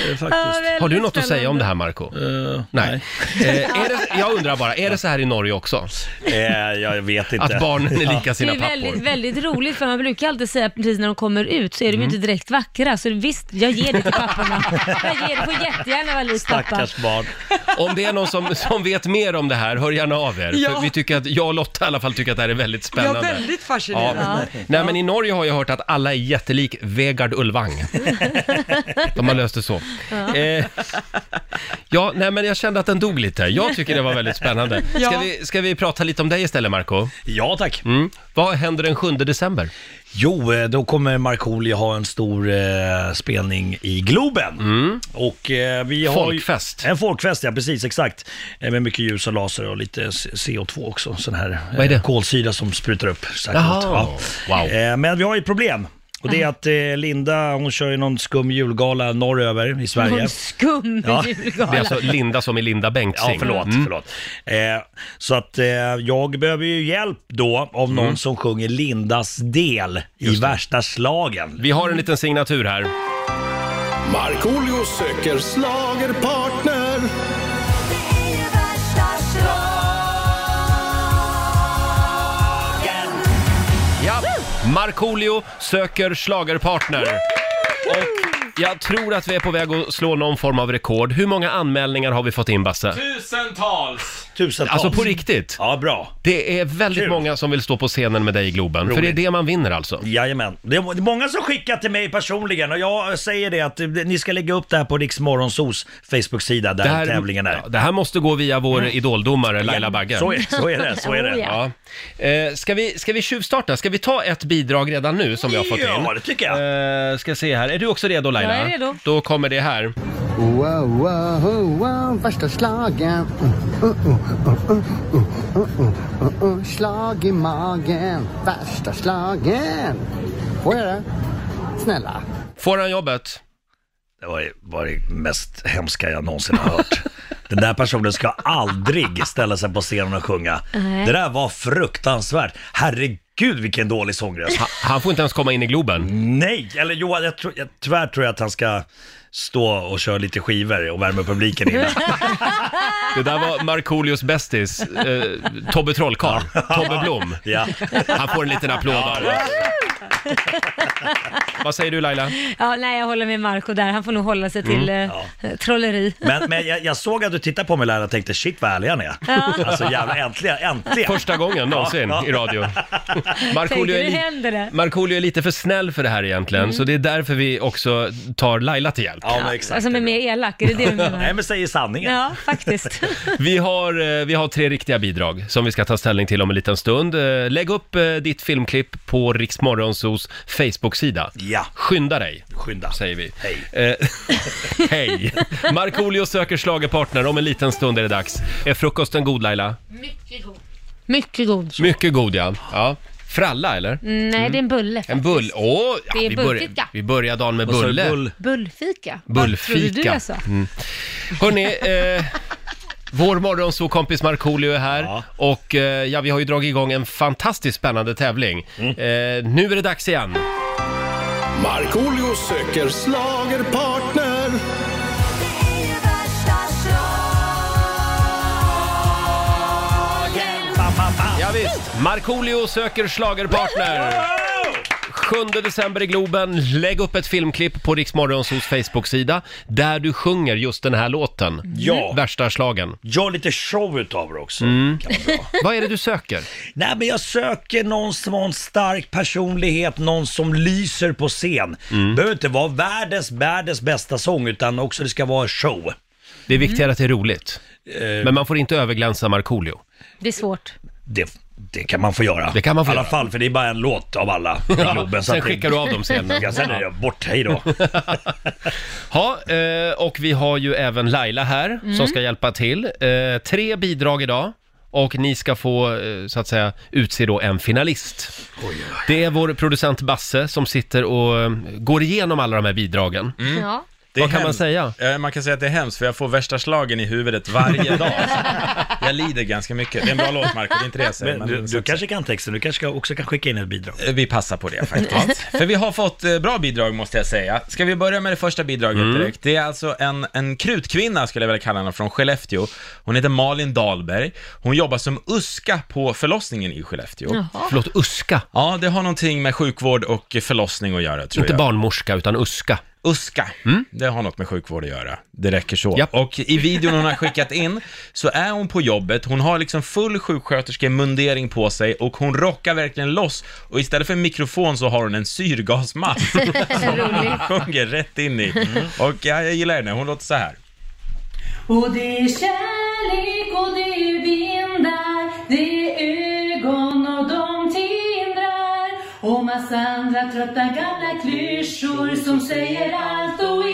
G: faktiskt.
B: väldigt
A: Har du något att
B: spännande.
A: säga om det här Marco?
G: Eh,
A: Nej. Eh, är det, jag undrar bara, är det så här i Norge också?
G: Eh, jag vet inte.
A: Att barnen är lika sina
B: det är väldigt,
A: pappor?
B: väldigt roligt för man brukar alltid säga precis när de kommer ut så är de
A: Mm.
B: ju inte direkt vackra. Så visst, jag ger det till papporna. Jag ger det, får jättegärna vara lik pappa.
G: Stackars barn.
A: Om det är någon som, som vet mer om det här, hör gärna av er.
C: Ja.
A: För vi tycker att, jag och Lotta i alla fall tycker att det här är väldigt
C: Ja,
A: spännande.
C: väldigt
A: Ja.
C: fascinerande.
A: Nej men i Norge har jag hört att alla är jättelik Vegard Ulvang. De har löst det så. Ja. Eh, ja, nej men jag kände att den dog lite. Jag tycker det var väldigt spännande. Ska,
C: Ja.
A: vi, ska vi prata lite om dig istället Marco?
G: Ja, tack.
A: Mm. Vad händer den 7 december?
G: Jo, eh, då kommer Markoolio ha en stor eh, spelning i Globen. Och eh, vi har ju-
A: Mm. Folkfest.
G: En folkfest, ja precis, exakt. Eh, Med mycket ljus och laser och lite C- CO2 också. Sån här eh,
A: Vad är det?
G: kolsyra som sprutar upp. Så här
A: Jaha.
G: coolt,
A: Wow. Ah.
G: Eh, Men vi har ju ett problem. Och det är att eh, Linda, hon kör ju någon skum julgala norröver i Sverige.
B: Någon skum
G: Ja.
A: Det är
B: julgala.
A: alltså Linda som är Linda Bengtzing. Mm.
G: Ja, förlåt. förlåt. Eh, så att eh, jag behöver ju hjälp då av
A: Mm.
G: någon som sjunger Lindas del i värsta slagen.
A: Vi har en liten signatur här.
D: Markoolio söker slagerpartner.
E: Det är ju värsta slagen.
A: Ja, Markoolio söker schlagerpartner. Och jag tror att vi är på väg att slå någon form av rekord. Hur många anmälningar har vi fått in, Basse?
H: Tusentals!
G: Tusentals.
A: Alltså på riktigt.
G: Ja, bra.
A: Det är väldigt
G: Kul.
A: många som vill stå på scenen med dig i Globen, för det är
G: Roligt.
A: det man vinner alltså.
G: Jajamän. Det är det är många som skickar till mig personligen och jag säger det att eh, ni ska lägga upp det här på Riks Morgonzos Facebook-sida där
A: Det här,
G: tävlingen är.
A: ja, det här måste gå via vår idoldomare Laila Bagge.
G: Så är, så är det, så är det.
B: Mm. Oh, ja.
A: Ja. Eh, ska, vi, ska vi tjuvstarta? Ska vi ta ett bidrag redan nu som vi har fått in?
G: Ja, det tycker jag.
A: Eh, ska se här. Är du också redo Laila?
B: Jag är redo.
A: Då kommer det här.
H: Wow, wow, wow, värsta slagen. Uh, uh, uh, uh, uh, uh, uh, uh, uh. Slag i magen, värsta slagen. Får jag det? Snälla.
A: Får han jobbet?
G: Det var, det var det mest hemska jag någonsin har hört. Den där personen ska aldrig ställa sig på scenen och sjunga.
B: Nej.
G: Det där var fruktansvärt. Herregud vilken dålig sångröst.
A: Ha- Han får inte ens komma in i Globen.
G: Nej, eller Johan, jag tror, jag, tyvärr tror jag att han ska stå och köra lite skivor och värma upp publiken innan.
A: Det där var Markoolios bästis, eh, Tobbe Trollkarl, Tobbe Blom.
G: Ja.
A: Han får en liten applåd av oss. Vad säger du Laila? Mm.
B: Ja, nej, jag håller med Marco där. Han får nog hålla sig till eh, trolleri.
G: Men, men jag, jag såg att du tittade på mig Laila och tänkte shit vad ärlig han är. Alltså jävla äntligen, äntligen.
A: Första gången någonsin
G: Ja, ja.
A: i radio.
B: Tänker
A: Markoolio
B: du
A: är, li-
B: händer det?
A: Markoolio är lite för snäll för det här egentligen, så det är därför vi också tar Laila till hjälp.
G: Mm. Ja men exakt.
B: Alltså med mer elak, är det det du
G: Nej
B: menar?
G: men säger sanningen.
B: Ja, faktiskt.
A: Vi har, eh, vi har tre riktiga bidrag som vi ska ta ställning till om en liten stund. Eh, Lägg upp eh, ditt filmklipp på Riksmorgonsos Facebook-sida.
G: Ja,
A: Skynda dig,
G: skynda.
A: säger vi.
G: Hej.
A: Eh, Hej! Markoolio söker schlagerpartner. Om en liten stund är det dags. Är frukosten god Laila?
B: Mycket god.
A: Mycket god ja. ja. Fralla eller?
B: Nej, det
G: Mm.
B: är en bulle.
A: En bull. Åh! ja,
B: Det är
A: vi, börjar,
B: bullfika.
A: vi börjar dagen med
G: Och så
A: bulle.
G: bull.
B: Bullfika. Vad trodde du
A: Bullfika.
B: jag sa?
A: Mm. Hörni, eh, vår morgonsåkompis Markoolio är här
G: Ja.
A: och eh, ja, vi har ju dragit igång en fantastiskt spännande tävling.
G: Mm.
A: Eh, nu är det dags igen.
D: Markoolio söker slagerpartner.
E: Det är ju värsta schlagern.
G: Bam, bam, bam.
A: Ja, visst. Markoolio söker schlagerpartner. 7 december i Globen. Lägg upp ett filmklipp på Riksmorgonsos Facebook-sida där du sjunger just den här låten.
G: Ja.
A: Värsta slagen. Mm.
G: Gör lite show utav det också. Kan vara bra.
A: Vad är det du söker?
G: Nej men jag söker någon som har en stark personlighet, någon som lyser på scen.
A: Mm.
G: Behöver inte vara världens, världens bästa sång utan också det ska vara show.
A: Det är viktigare att det är roligt.
G: Eh,
A: Men man får inte överglänsa Markoolio.
B: Det är svårt.
G: det, det kan man få göra.
A: Det kan man få
G: I alla
A: göra.
G: fall, för det är bara en låt av alla i Globen. så
A: Sen
G: att det-
A: skickar du av dem sen.
G: Ja, sen är det bort, hej då.
A: Ja, eh, och vi har ju även Laila här som ska hjälpa till. Eh, Tre bidrag idag och ni ska få, eh, så att säga, utse då en finalist. Det är vår producent Basse som sitter och eh, går igenom alla de här bidragen.
B: Ja.
I: Mm. Det är
A: Vad kan man
I: hemskt.
A: säga?
I: Eh, Man kan säga att det är hemskt, för jag får värsta slagen i huvudet varje dag. Så jag lider ganska mycket. Det är en bra låt, Marco, det är inte det jag säger.
G: Men du, du kanske kan texten, du kanske också kan skicka in ett bidrag.
I: Eh, Vi passar på det faktiskt. För vi har fått eh, bra bidrag måste jag säga. Ska vi börja med det första bidraget
G: Mm.
I: direkt? Det är alltså en, en krutkvinna skulle jag vilja kalla henne från Skellefteå. Hon heter Malin Dahlberg. Hon jobbar som USKA på förlossningen i Skellefteå.
A: Förlåt, USKA.
I: Ja, det har någonting med sjukvård och förlossning att göra tror
A: Inte
I: jag.
A: barnmorska, utan USKA. Mm.
I: Uska, det har något med sjukvård att göra. Det räcker så.
A: Japp.
I: Och i videon hon har skickat in så är hon på jobbet, hon har liksom full sjuksköterskemundering på sig och hon rockar verkligen loss och istället för en mikrofon så har hon en syrgasmask som hon sjunger rätt in i. Och ja, jag gillar henne, hon låter så här.
E: Och det är kärlek och det är vindar Det är ögon och de tindrar Och massa andra trötta gamla klyschor som säger allt och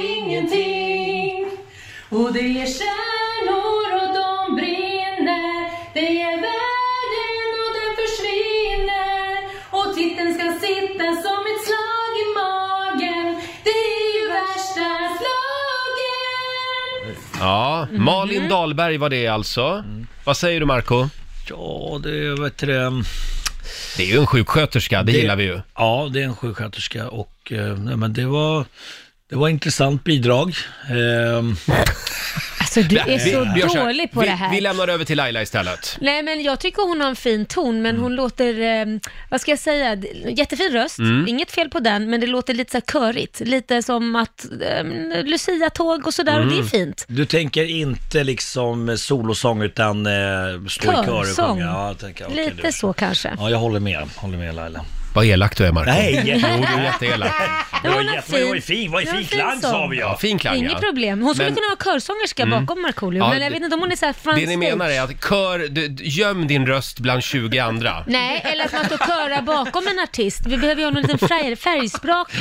E: ingenting Och det är stjärnor och de brinner Det är världen och den försvinner Och titeln ska sitta som ett slag i magen Det är ju värsta slagen
A: Ja, Malin Dahlberg var det alltså. Vad säger du Marco?
G: Ja, det vet du, eh, det.
A: Det är ju en sjuksköterska, det, gillar vi ju.
G: Ja, det är en sjuksköterska och eh, nej, men det var, det var ett intressant bidrag. Ehm,
B: Alltså du är
A: Vi-
B: så
A: vi gör så här.
B: dålig på
A: vi,
B: det här.
A: Vi lämnar över till Laila istället.
B: Nej men jag tycker hon har en fin ton
A: Mm.
B: men hon låter, eh, vad ska jag säga, d- jättefin röst,
A: Mm.
B: inget fel på den men det låter lite så här körigt, lite som att eh, Lucia-tåg och sådär och det är
A: Mm.
B: fint.
G: Du tänker inte liksom solosång utan eh, stå i kör och
B: Körsång.
G: sjunga? Ja, jag tänker, okej,
B: lite
G: du.
B: så kanske.
G: Ja, jag håller med. Håller med Laila.
A: Vad elak du är Marco.
G: Nej!
A: Jo, du är jätteelak.
B: Men
G: var
B: hon har
G: jätte- men det var ju
B: fin-
G: fin, vad är
B: det var en
G: fin
B: fin
G: klang
B: sång.
G: sa vi
A: Ja,
G: ja.
A: fin klang ja.
B: Inget problem. Hon skulle
A: Men- Mm.
B: kunna vara körsångerska bakom Markoolio
A: Ja,
B: men jag
A: det-
B: vet inte om hon är såhär front
A: Det ni menar
B: stage.
A: är att kör, du, du- göm din röst bland 20 andra.
B: Nej, eller att man står och körar bakom en artist. Vi behöver ju ha någon liten färg, färgsprak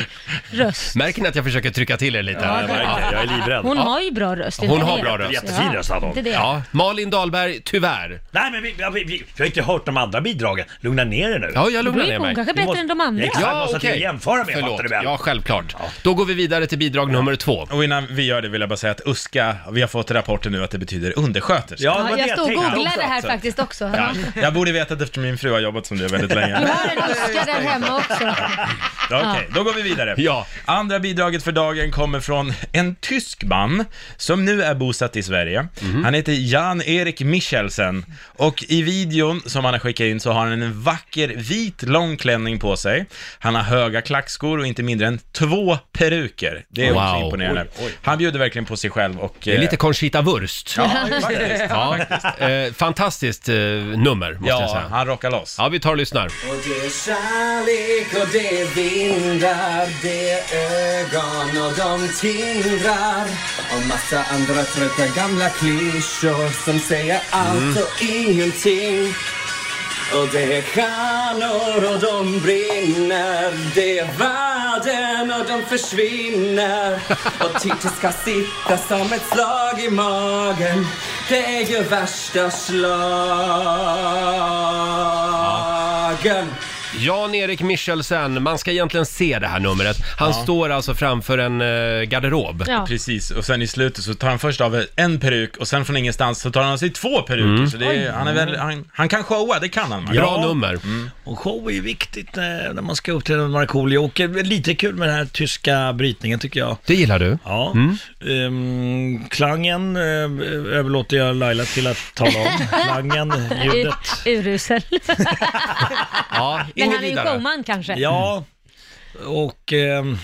B: röst.
A: Märker ni att jag försöker trycka till er lite?
G: Ja, jag märker det. jag är livrädd.
B: Hon har ju bra röst. det är
A: Hon
B: inte
A: har
B: det.
A: bra röst.
G: Jättefin röst hade hon.
B: inte det.
A: Ja, Malin Dahlberg, tyvärr.
G: Nej men vi, vi, vi, vi har inte hört de andra bidragen. Lugna ner er nu.
A: Ja, jag
B: Då
A: lugnar
B: är
A: ner
B: hon
A: mig.
B: kanske
G: Vi
B: bättre
G: måste-
B: än de andra.
G: Exakt. Jag måste
A: okej.
G: jämföra med,
A: Förlåt.
G: fattar du väl?
A: Ja, självklart. Då går vi vidare till bidrag nummer två.
I: Och innan vi gör det vill jag bara säga att USKA, vi har fått rapporten nu att det betyder undersköterska.
G: det var
B: Ja,
G: det
B: jag stod och
G: tänkte
B: googlade
G: också.
B: här faktiskt också.
I: Ja, jag borde vetat eftersom min fru har jobbat som det väldigt
B: Du
I: länge.
B: har en Oskar där hemma också.
I: Ja, Okej, då går vi vidare.
A: Ja.
I: Andra bidraget för dagen kommer från en tysk man som nu är bosatt i Sverige.
A: Mhm.
I: Han heter Jan-Erik Michelsen och i videon som han har skickat in så har han en vacker vit lång klänning på sig. Han har höga klackskor och inte mindre än två peruker. Det är
A: Wow.
I: också imponerande. Han bjuder verkligen på sig själv och... eh,
A: Det är lite Conchita Wurst.
I: Ja, faktiskt.
A: Ja, eh, fantastiskt eh, nummer, måste jag
I: Ja,
A: säga.
I: han rockar loss.
A: Ja, vi tar och lyssnar.
H: Och det är kärlek och det är vindar Det är ögon och de tindrar Och massa andra trötta gamla klyschor som säger allt och ingenting och det är stjärnor och de brinner Det är världen och de försvinner Och Titti ska sitta som ett slag i magen Det är ju värsta slagen
A: Jan-Erik Michelsen, man ska egentligen se det här numret. Han står alltså framför en eh, garderob.
B: Ja.
I: Precis, och sen i slutet så tar han först av en peruk och sen från ingenstans så tar han av sig två peruker.
A: Mm.
I: Så det är, han, är väl, han, han kan showa, det kan han. Mm. Mark.
A: Bra nummer.
G: Och show är ju viktigt eh, när man ska uppträda med Markoolio och eh, lite kul med den här tyska brytningen tycker jag.
A: Det gillar du? Mm.
G: Ja, Ehm, klangen eh, överlåter jag Laila till att tala om. Klangen, ljudet.
B: Urusel.
A: Ja, in
B: Men
A: i
B: han är ju
A: vidare.
B: showman kanske.
G: Ja, och ehm,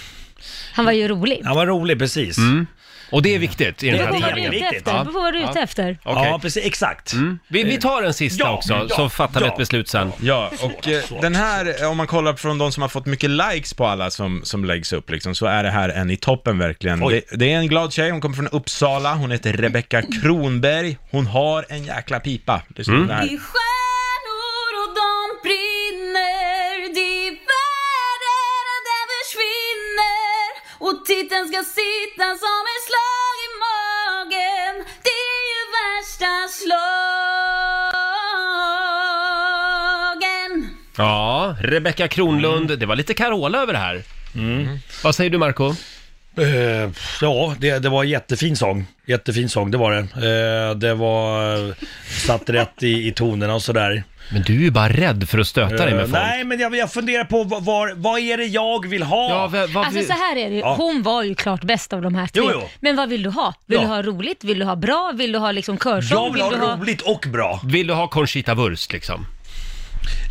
B: Han var ju rolig.
G: han var rolig precis.
A: Mm. Och det är viktigt i den
B: Det
A: här
B: var vad
G: jätteviktigt.
B: du är
A: tävlingen.
B: ute efter.
A: Ja.
B: Det var vad du är ute efter.
A: Okej. Mm.
G: Ja, precis, exakt.
A: Vi, vi tar en sista
G: Eh, Ja,
A: också,
G: ja,
A: så fattar vi
G: ja.
A: ett beslut sen.
I: Ja, och eh, den här, om man kollar från de som har fått mycket likes på alla som, som läggs upp liksom, så är det här en i toppen verkligen.
G: Oj.
I: Det, det är en glad tjej, hon kommer från Uppsala, hon heter Rebecka Kronberg, hon har en jäkla pipa. Det står
A: Mm.
C: Mm.
I: det
E: Det
I: här.
E: är stjärnor och de brinner Det är världen och den försvinner Och titeln ska sitta som ett slag i magen Det är ju värsta slagen
A: Ja, Rebecka Kronlund,
G: Mm.
A: det var lite Carola över det här. Mm. Vad säger du Marco?
G: Eh, ja, det, det var en jättefin sång. Jättefin sång, det var det. Eh, det var eh, satt rätt i, i tonerna och sådär.
A: Men du är ju bara rädd för att stöta dig
G: Eh,
A: med folk.
G: nej, men jag, jag funderar på vad- var, vad är det jag vill ha?
A: Ja, vad, vad,
B: Alltså så här är det ju.
G: Ja.
B: Hon var ju klart bäst av de här tre.
G: Jo, jo.
B: Men vad vill du ha? Vill
G: Ja.
B: du ha roligt? Vill du ha bra? Vill du ha liksom körsång?
G: jag vill
B: du
G: ha roligt och bra.
A: Vill du ha Conchita Wurst liksom?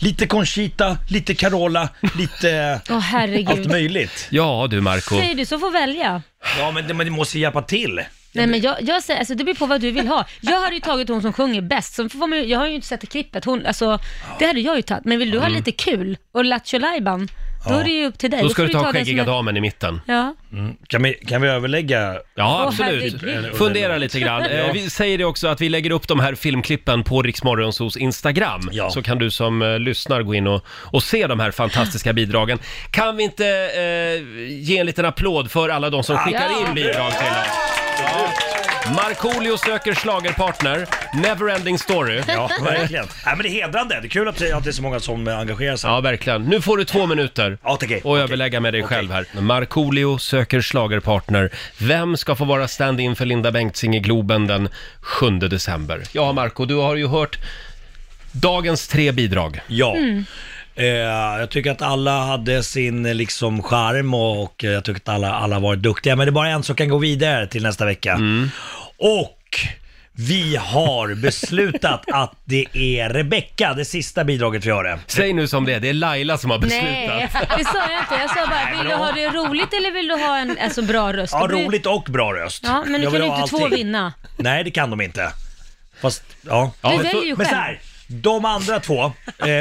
G: Lite Conchita, lite Carola, lite
B: Åh
G: allt
B: herregud.
G: möjligt.
A: Ja du Marco.
B: Säger du så får välja.
G: Ja, men det, men det måste hjälpa till.
B: Nej men jag, jag säger, alltså det beror på vad du vill ha. Jag hade ju tagit hon som sjunger bäst, så får man, ju- jag har ju inte sett det klippet. Hon, alltså, det hade jag ju tagit, men vill du ha lite kul och lattjo lajban, då är det ju upp till dig.
A: Mm. Då ska
B: får
A: du ta
B: den som
A: skäggiga
B: är-
A: damen i mitten.
B: Ja,
G: Mm. Kan vi, kan vi överlägga?
A: Ja,
B: Åh,
A: absolut.
B: herregud.
A: Fundera lite grann. Eh, Vi säger det också att vi lägger upp de här filmklippen på Riksmorgonsos Instagram.
G: Ja.
A: Så kan du som eh, lyssnar gå in och, och se de här fantastiska bidragen. Kan vi inte eh, ge en liten applåd för alla
G: Ah,
A: de som skickar in bidrag till oss? Ja. Markoolio söker schlagerpartner, Neverending Story.
G: Ja, verkligen. Nej, men det är hedrande. Det är kul att det, att det är så många som eh, engagerar sig.
A: Ja, verkligen. Nu får du två minuter
G: Ja, okej,
A: och
G: okej.
A: överlägga med dig
G: Okej.
A: själv här. Markoolio söker schlagerpartner. Vem ska få vara stand-in för Linda Bengtzing i Globen den 7 december? Ja, Marco, du har ju hört dagens tre bidrag.
G: Ja. Eh, jag tycker att alla hade sin eh, liksom charm
A: Mm.
G: och, och eh, jag tycker att alla, alla var duktiga. Men det är bara en som kan gå vidare till nästa vecka. Och Och vi har beslutat att det är Rebecca, det sista bidraget vi har det.
A: Säg nu som det är, det är Laila som har
B: Nej,
A: beslutat.
B: det sa jag inte. Jag sa bara, vill du ha det roligt eller vill du ha en alltså, bra röst?
G: Ja,
B: Det blir-
G: roligt och bra röst.
B: Ja, men
G: Jag
B: nu kan
G: vill
B: ju
G: ha
B: inte två
G: allting.
B: vinna.
G: Nej, det kan de inte. Fast, ja.
B: Du
G: men,
B: väljer ju
G: men så
B: själv.
G: här, de andra två, eh,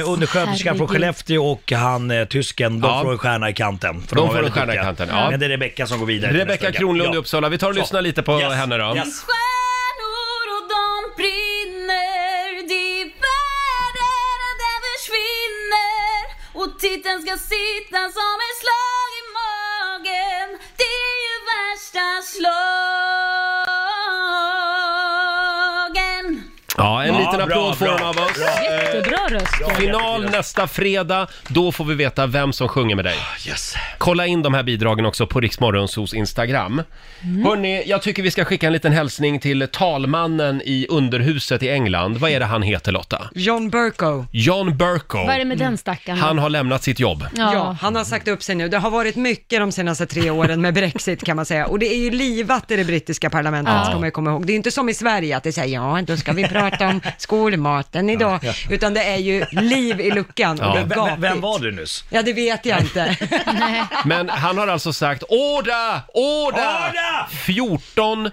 G: undersköterskan från
B: Herregud.
G: Skellefteå och han eh, tysken, de
A: Ja.
G: får en stjärna i kanten. För
A: De
G: var
A: får en
G: väldigt
A: stjärna i
G: duktiga.
A: kanten, ja.
G: Men det är Rebecca som går vidare. till nästa
A: Rebecka
G: vecka.
A: Kronlund i
G: Ja.
A: Uppsala, vi tar och
G: Så.
A: lyssnar lite på
G: Yes,
A: henne då.
G: yes.
E: Stjärnor och de brinner De världarna där försvinner Och titeln ska sitta som ett slag i magen Det är ju värsta slagen
A: Ja,
G: Ja,
A: en liten
G: bra,
A: applåd får
G: bra,
A: hon av oss.
B: Jättebra röst.
A: Final nästa fredag, då får vi veta vem som sjunger med dig.
G: Ah, Yes.
A: Kolla in de här bidragen också på Riksmorgonsos Instagram.
B: Mm.
A: Hörni, jag tycker vi ska skicka en liten hälsning till talmannen i underhuset i England. Vad är det han heter Lotta?
C: John Burko.
A: John
B: Vad är det
A: Burko. Mm.
B: med den stackaren?
A: Han har lämnat sitt jobb.
C: Ja.
B: Ja.
C: han har sagt upp sig nu. Det har varit mycket de senaste tre åren med Brexit kan man säga. Och det är ju livat i det brittiska parlamentet, ska man ju komma ihåg. Det är inte som i Sverige att det säger ja, då ska vi prata om skolmaten idag. Utan det är ju liv i luckan och det är
G: Vem, vem-
C: gapigt.
G: vem var du nyss?
C: Ja, det vet jag inte.
A: Men han har alltså sagt order, order!
G: Order!
A: 14 000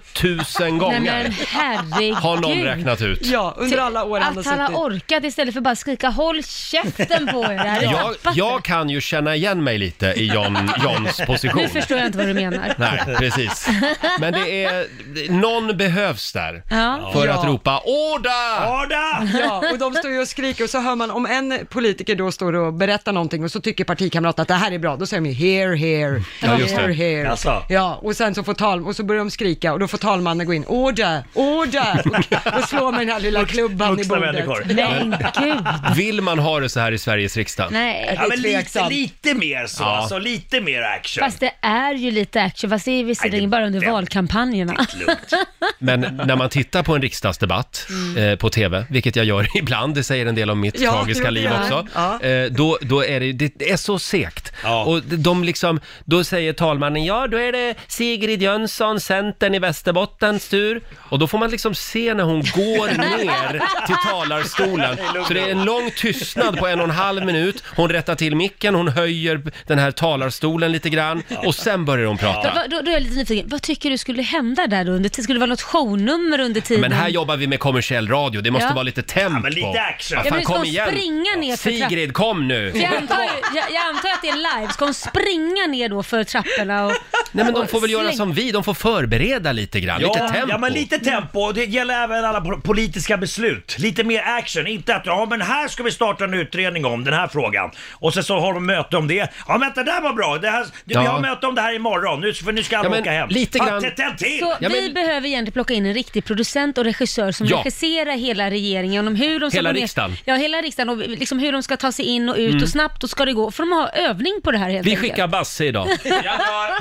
B: Nej
A: gånger
B: men herregud.
A: har någon räknat ut.
C: Ja, under alla år han har
B: Att han har
C: suttit.
B: orkat istället för bara skrika håll käften på er. Det här är
A: Jag,
B: tappat.
A: jag kan ju känna igen mig lite i John, Johns position.
B: Nu förstår jag inte vad du menar.
A: Nej, precis. Men det är, någon behövs där
B: Ja.
A: för
C: Ja.
A: att ropa order!
G: Arda!
C: Ja, och de står ju och skriker och så hör man om en politiker då står och berättar någonting och så tycker partikamraten att det här är bra, då säger de ju here, here,
A: Ja, just det.
C: here, here.
G: Jaså?
C: Ja, och sen så får tal och så börjar de skrika och då får talmannen gå in, order, order, och, och slå med den här lilla klubban i
G: Vuxna
C: bordet.
G: människor.
B: Nej, gud.
A: Vill man ha det så här i Sveriges riksdag?
B: Nej.
G: Ja, men lite,
C: Tveksam.
G: lite mer så,
A: Ja.
G: alltså, lite mer action.
B: Fast det är ju lite action, fast det är
G: Nej, det-
B: visserligen bara under
G: det-
B: valkampanjerna.
G: Lugnt.
A: Men när man tittar på en riksdagsdebatt eh, på TV, vilket jag gör ibland, det säger en del om mitt
C: Mm. Ja,
A: tragiska
C: jo,
A: liv
C: det gör
A: också,
C: jag.
A: eh, då, då är det, det är så segt.
G: Ja.
A: Och de liksom, då säger talmannen, ja då är det Sigrid Jönsson, Centern i Västerbottens tur. Och då får man liksom se när hon går ner till talarstolen. Så det är en lång tystnad på en och en halv minut. Hon rättar till micken, hon höjer den här talarstolen lite grann och sen börjar hon prata.
B: Då, då, då är jag lite nyfiken, vad tycker du skulle hända där under tiden? Skulle det vara något shownummer under tiden?
A: Men här jobbar vi med kommersiell radio, det måste
B: Ja.
A: vara lite tempo.
G: Ja, men lite action.
B: Ja,
A: Fan,
B: men ska
A: kom
B: hon
A: igen.
B: springa ner för trappan?
A: Sigrid, kom nu!
B: Jag antar, ju- jag, jag antar att det är live, ska hon springa ner då för trapporna och...
A: Nej men de
B: och
A: får väl göra
B: släng-
A: som vi, de får förbereda lite grann, lite tempo.
G: ja, men lite tempo. Och Det gäller även alla po- politiska beslut. Lite mer action. Inte att ja, men här ska vi starta en utredning om den här frågan. Och sen så har de möte om det. Ja, men det där var bra. Det här, du, Vi
A: Ja.
G: har möte om det här imorgon. Nu, för nu ska
A: Ja,
G: alla
A: men
G: åka hem.
A: lite
G: Ja,
A: grann-
G: tätt- tätt till!
B: Så
A: Ja,
B: vi
A: men-
B: behöver egentligen plocka in en riktig producent och regissör som
A: Ja.
B: regisserar hela regeringen om hur de ska
A: Hela
B: gå ner-
A: riksdagen. Mm.
B: Ja, hela riksdagen och liksom hur de ska ta sig in och ut och snabbt och ska det gå. Får de ha övning på det här helt
A: Vi
B: enkelt?
A: skickar Basse idag.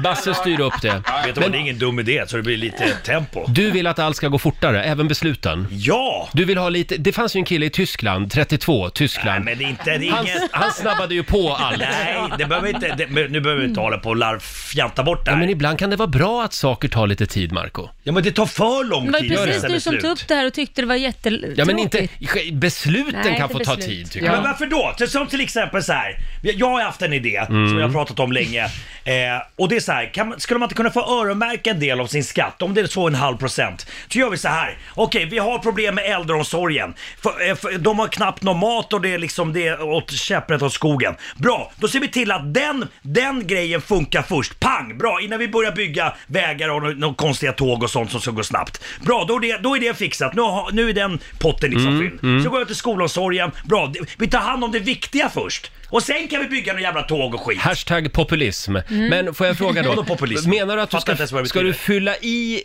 A: Basse styr upp det.
G: Vet du vad, det är ingen dum idé, så det blir lite tempo.
A: Du vill att allt ska gå fortare, även besluten.
G: Ja!
A: Du vill ha lite, det fanns ju en kille i Tyskland, 32,
G: Nej,
A: Tyskland.
G: men det är inte... Det är
A: Han,
G: ingen...
A: han snabbade ju på allt.
G: Nej, det behöver inte... Det, men nu behöver vi inte hålla på och larvfjanta bort det
A: Ja,
G: här.
A: men ibland kan det vara bra att saker tar lite tid, Marco.
G: Ja, men det tar för lång
B: Det var ju
G: tid. att
B: precis
G: fatta
B: du som
G: beslut.
B: tog upp det här och tyckte det var jättetråkigt.
A: Ja, men inte, besluten
B: Nej,
A: kan
B: inte
A: få ta
B: beslut.
A: tid, tycker jag.
G: Men varför då? Till- Som till exempel så här. Jag har haft en idé
A: Mm.
G: som jag har pratat om länge. Eh, och det är så här, kan, man- skulle man inte kunna få öronmärka en del av sin skatt? Om det är så en halv procent. Så gör vi så här. Okej, vi har problem med äldreomsorgen. För, eh, för, de har knappt någon mat och det är liksom det är åt käpprätt åt skogen. Bra, då ser vi till att den, den grejen funkar först. Pang, bra, innan vi börjar bygga vägar och nå- nå- konstiga tåg och sånt som ska gå snabbt. Bra, då är det, då är det fixat. Nu, har, nu är den potten liksom fylld. Så går jag till skolomsorgen. Bra, det- vi tar hand om det viktiga först. Och sen kan vi bygga några jävla tåg och skit.
A: Hashtag populism.
B: Mm.
A: Men får jag fråga då,
G: Vadå populism?
A: menar du att du
G: Fattar inte
A: ska,
G: ens vad det
A: ska du
G: betyder.
A: fylla i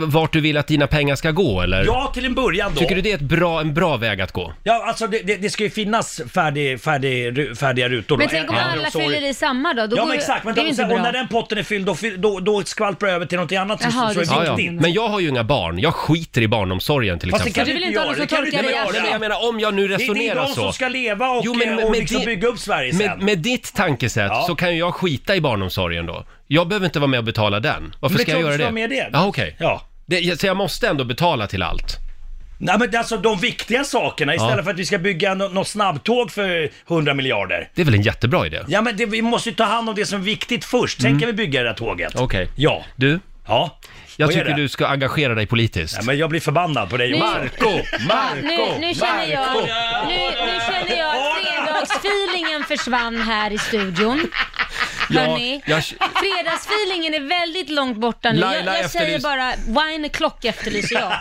A: eh, vart du vill att dina pengar ska gå eller?
G: Ja, till en början då.
A: Tycker du det är ett bra, en bra väg att gå?
G: Ja, alltså det, det, det ska ju finnas färdig, färdig, ru- färdiga rutor.
B: Men
G: då.
B: tänk om
G: Ja.
B: alla
G: Äldreomsorg.
B: fyller i samma då? då
G: ja
B: går
G: men
B: ju-
G: exakt, men
B: det är ju
G: och
B: inte
G: sen, och
B: bra.
G: när den potten är fylld då, fyll- då, då skvalpar det över till något annat
B: Jaha,
G: som, som är
B: det är
A: Ja,
G: viktigt.
A: ja. Men jag har ju inga barn, jag skiter i barnomsorgen till
G: Fast det
A: exempel.
G: kan du
B: du
G: inte
B: vill inte ha
G: göra.
B: någon
G: Det
B: som
G: kan du inte
B: torkar dig i
A: Nej,
G: göra.
A: men,
B: arslet.
A: jag menar om jag nu
G: Det är, det är
A: resonerar
G: de
A: så.
G: som ska leva och, och liksom
A: di-
G: bygga upp Sverige sen.
A: med, med ditt tankesätt
G: Ja.
A: så kan ju jag skita i barnomsorgen då. Jag behöver inte vara med och betala den.
G: Men
A: Varför
G: det är
A: ska
G: klart
A: jag göra
G: du ska
A: det?
G: vara med i det.
A: Ja, okej.
G: Ja.
A: Det, så jag måste ändå betala till allt.
G: Nej men alltså de viktiga sakerna istället
A: Ja.
G: för att vi ska bygga nå- något snabbtåg för 100 miljarder.
A: Det är väl en jättebra idé?
G: Ja men det, vi måste ju ta hand om det som är viktigt först,
A: Mm.
G: sen kan vi bygga det där tåget.
A: Okej.
G: Ja.
A: Du,
G: Ja.
A: jag
G: Vad är
A: tycker
G: det?
A: du ska engagera dig politiskt.
G: Nej, men jag blir förbannad på dig
B: Nu-
G: Johan.
A: Marco, Marco,
B: Nu, nu känner jag,
A: Marco!
B: nu, nu känner jag att fredagsfeelingen försvann här i studion. Hörni,
A: jag,
B: fredagsfeelingen är väldigt långt borta nu. Jag,
A: Laila
B: jag säger
A: efterlys-
B: bara wine o'clock efterlyser jag.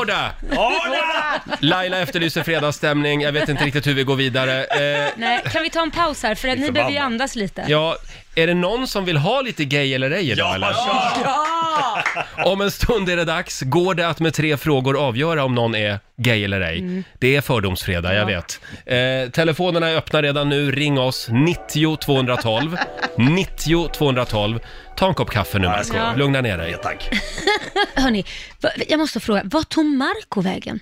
A: order!
G: Arla!
A: Laila efterlyser fredagsstämning, jag vet inte riktigt hur vi går vidare. Eh,
B: Nej, kan vi ta en paus här för att ni behöver ju andas lite.
A: ja, är det någon som vill ha lite gay eller ej idag eller?
G: Ja, kör!
A: Om en stund är det dags. Går det att med tre frågor avgöra om någon är gay eller ej? Det är fördomsfredag, jag vet. Eh, telefonerna är öppna redan nu. Ring oss, 90 212. 90 212. Ta en kopp kaffe nu, Marco.
G: ska.
A: Lugna ner dig.
G: Ja, tack.
B: Hörni, va- jag måste fråga, vad tog Marco vägen?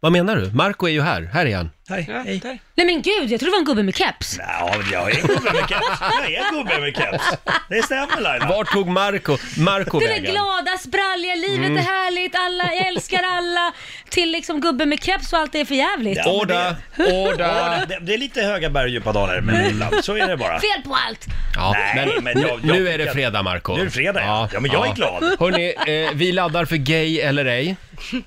A: Vad menar du? Marco är ju här. Här är han.
G: Hej, hej.
B: Nej men gud, jag trodde det var en gubbe med keps.
G: Ja, men jag är gubbe med keps. Jag är gubbe med keps. Det stämmer Laila.
A: Var tog Marco, Marco
B: Det är
A: vägen?
B: glada, spralliga, livet
G: Mm.
B: är härligt, alla, jag älskar alla. Till liksom gubbe med keps och allt är för jävligt.
G: Ja.
A: Orda,
G: Ja,
A: orda.
G: det, det är lite höga berg och djupa dalar, men ibland så är det bara.
B: Fel på allt!
A: Mm. Ja,
G: Nej, men jag- jag
A: nu
G: tycker
A: är det
G: att-
A: fredag, Marco.
G: Nu är det fredag, ja. Ja, men jag är glad.
A: Hörni, eh, vi laddar för gay eller ej.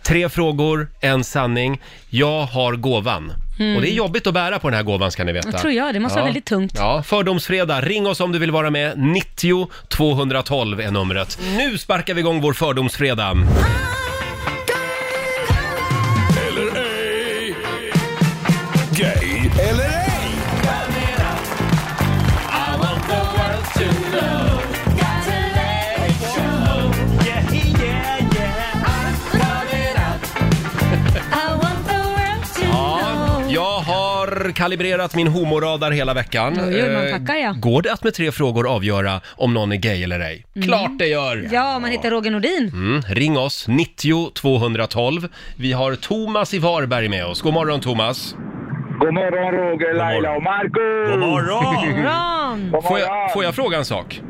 A: Tre frågor, en sanning. Jag har gåvan. Och det är jobbigt att bära på den här gåvan ska ni veta.
B: Mm. Jag tror jag, det måste vara väldigt tungt.
A: Ja, fördomsfredag. Ring oss om du vill vara med. 90 212 är numret. Nu sparkar vi igång vår fördomsfredag.
D: Eller ej. Gay eller ej.
G: Yeah, yeah, yeah.
A: Ja, jag har kalibrerat min homoradar hela veckan.
B: Oj, oj, man
A: Eh,
B: tackar, ja.
A: Går det att med tre frågor avgöra om någon är gay eller ej? Klart det gör!
B: Mm. Ja, man hittar Roger Nordin.
A: Mm, ring oss, 90 212. Vi har Thomas i Varberg med oss. God morgon Thomas!
F: God morgon Roger, Laila och Marco!
G: God morgon!
B: Ron.
F: God
A: Får
F: morgon.
A: jag, får jag fråga en sak?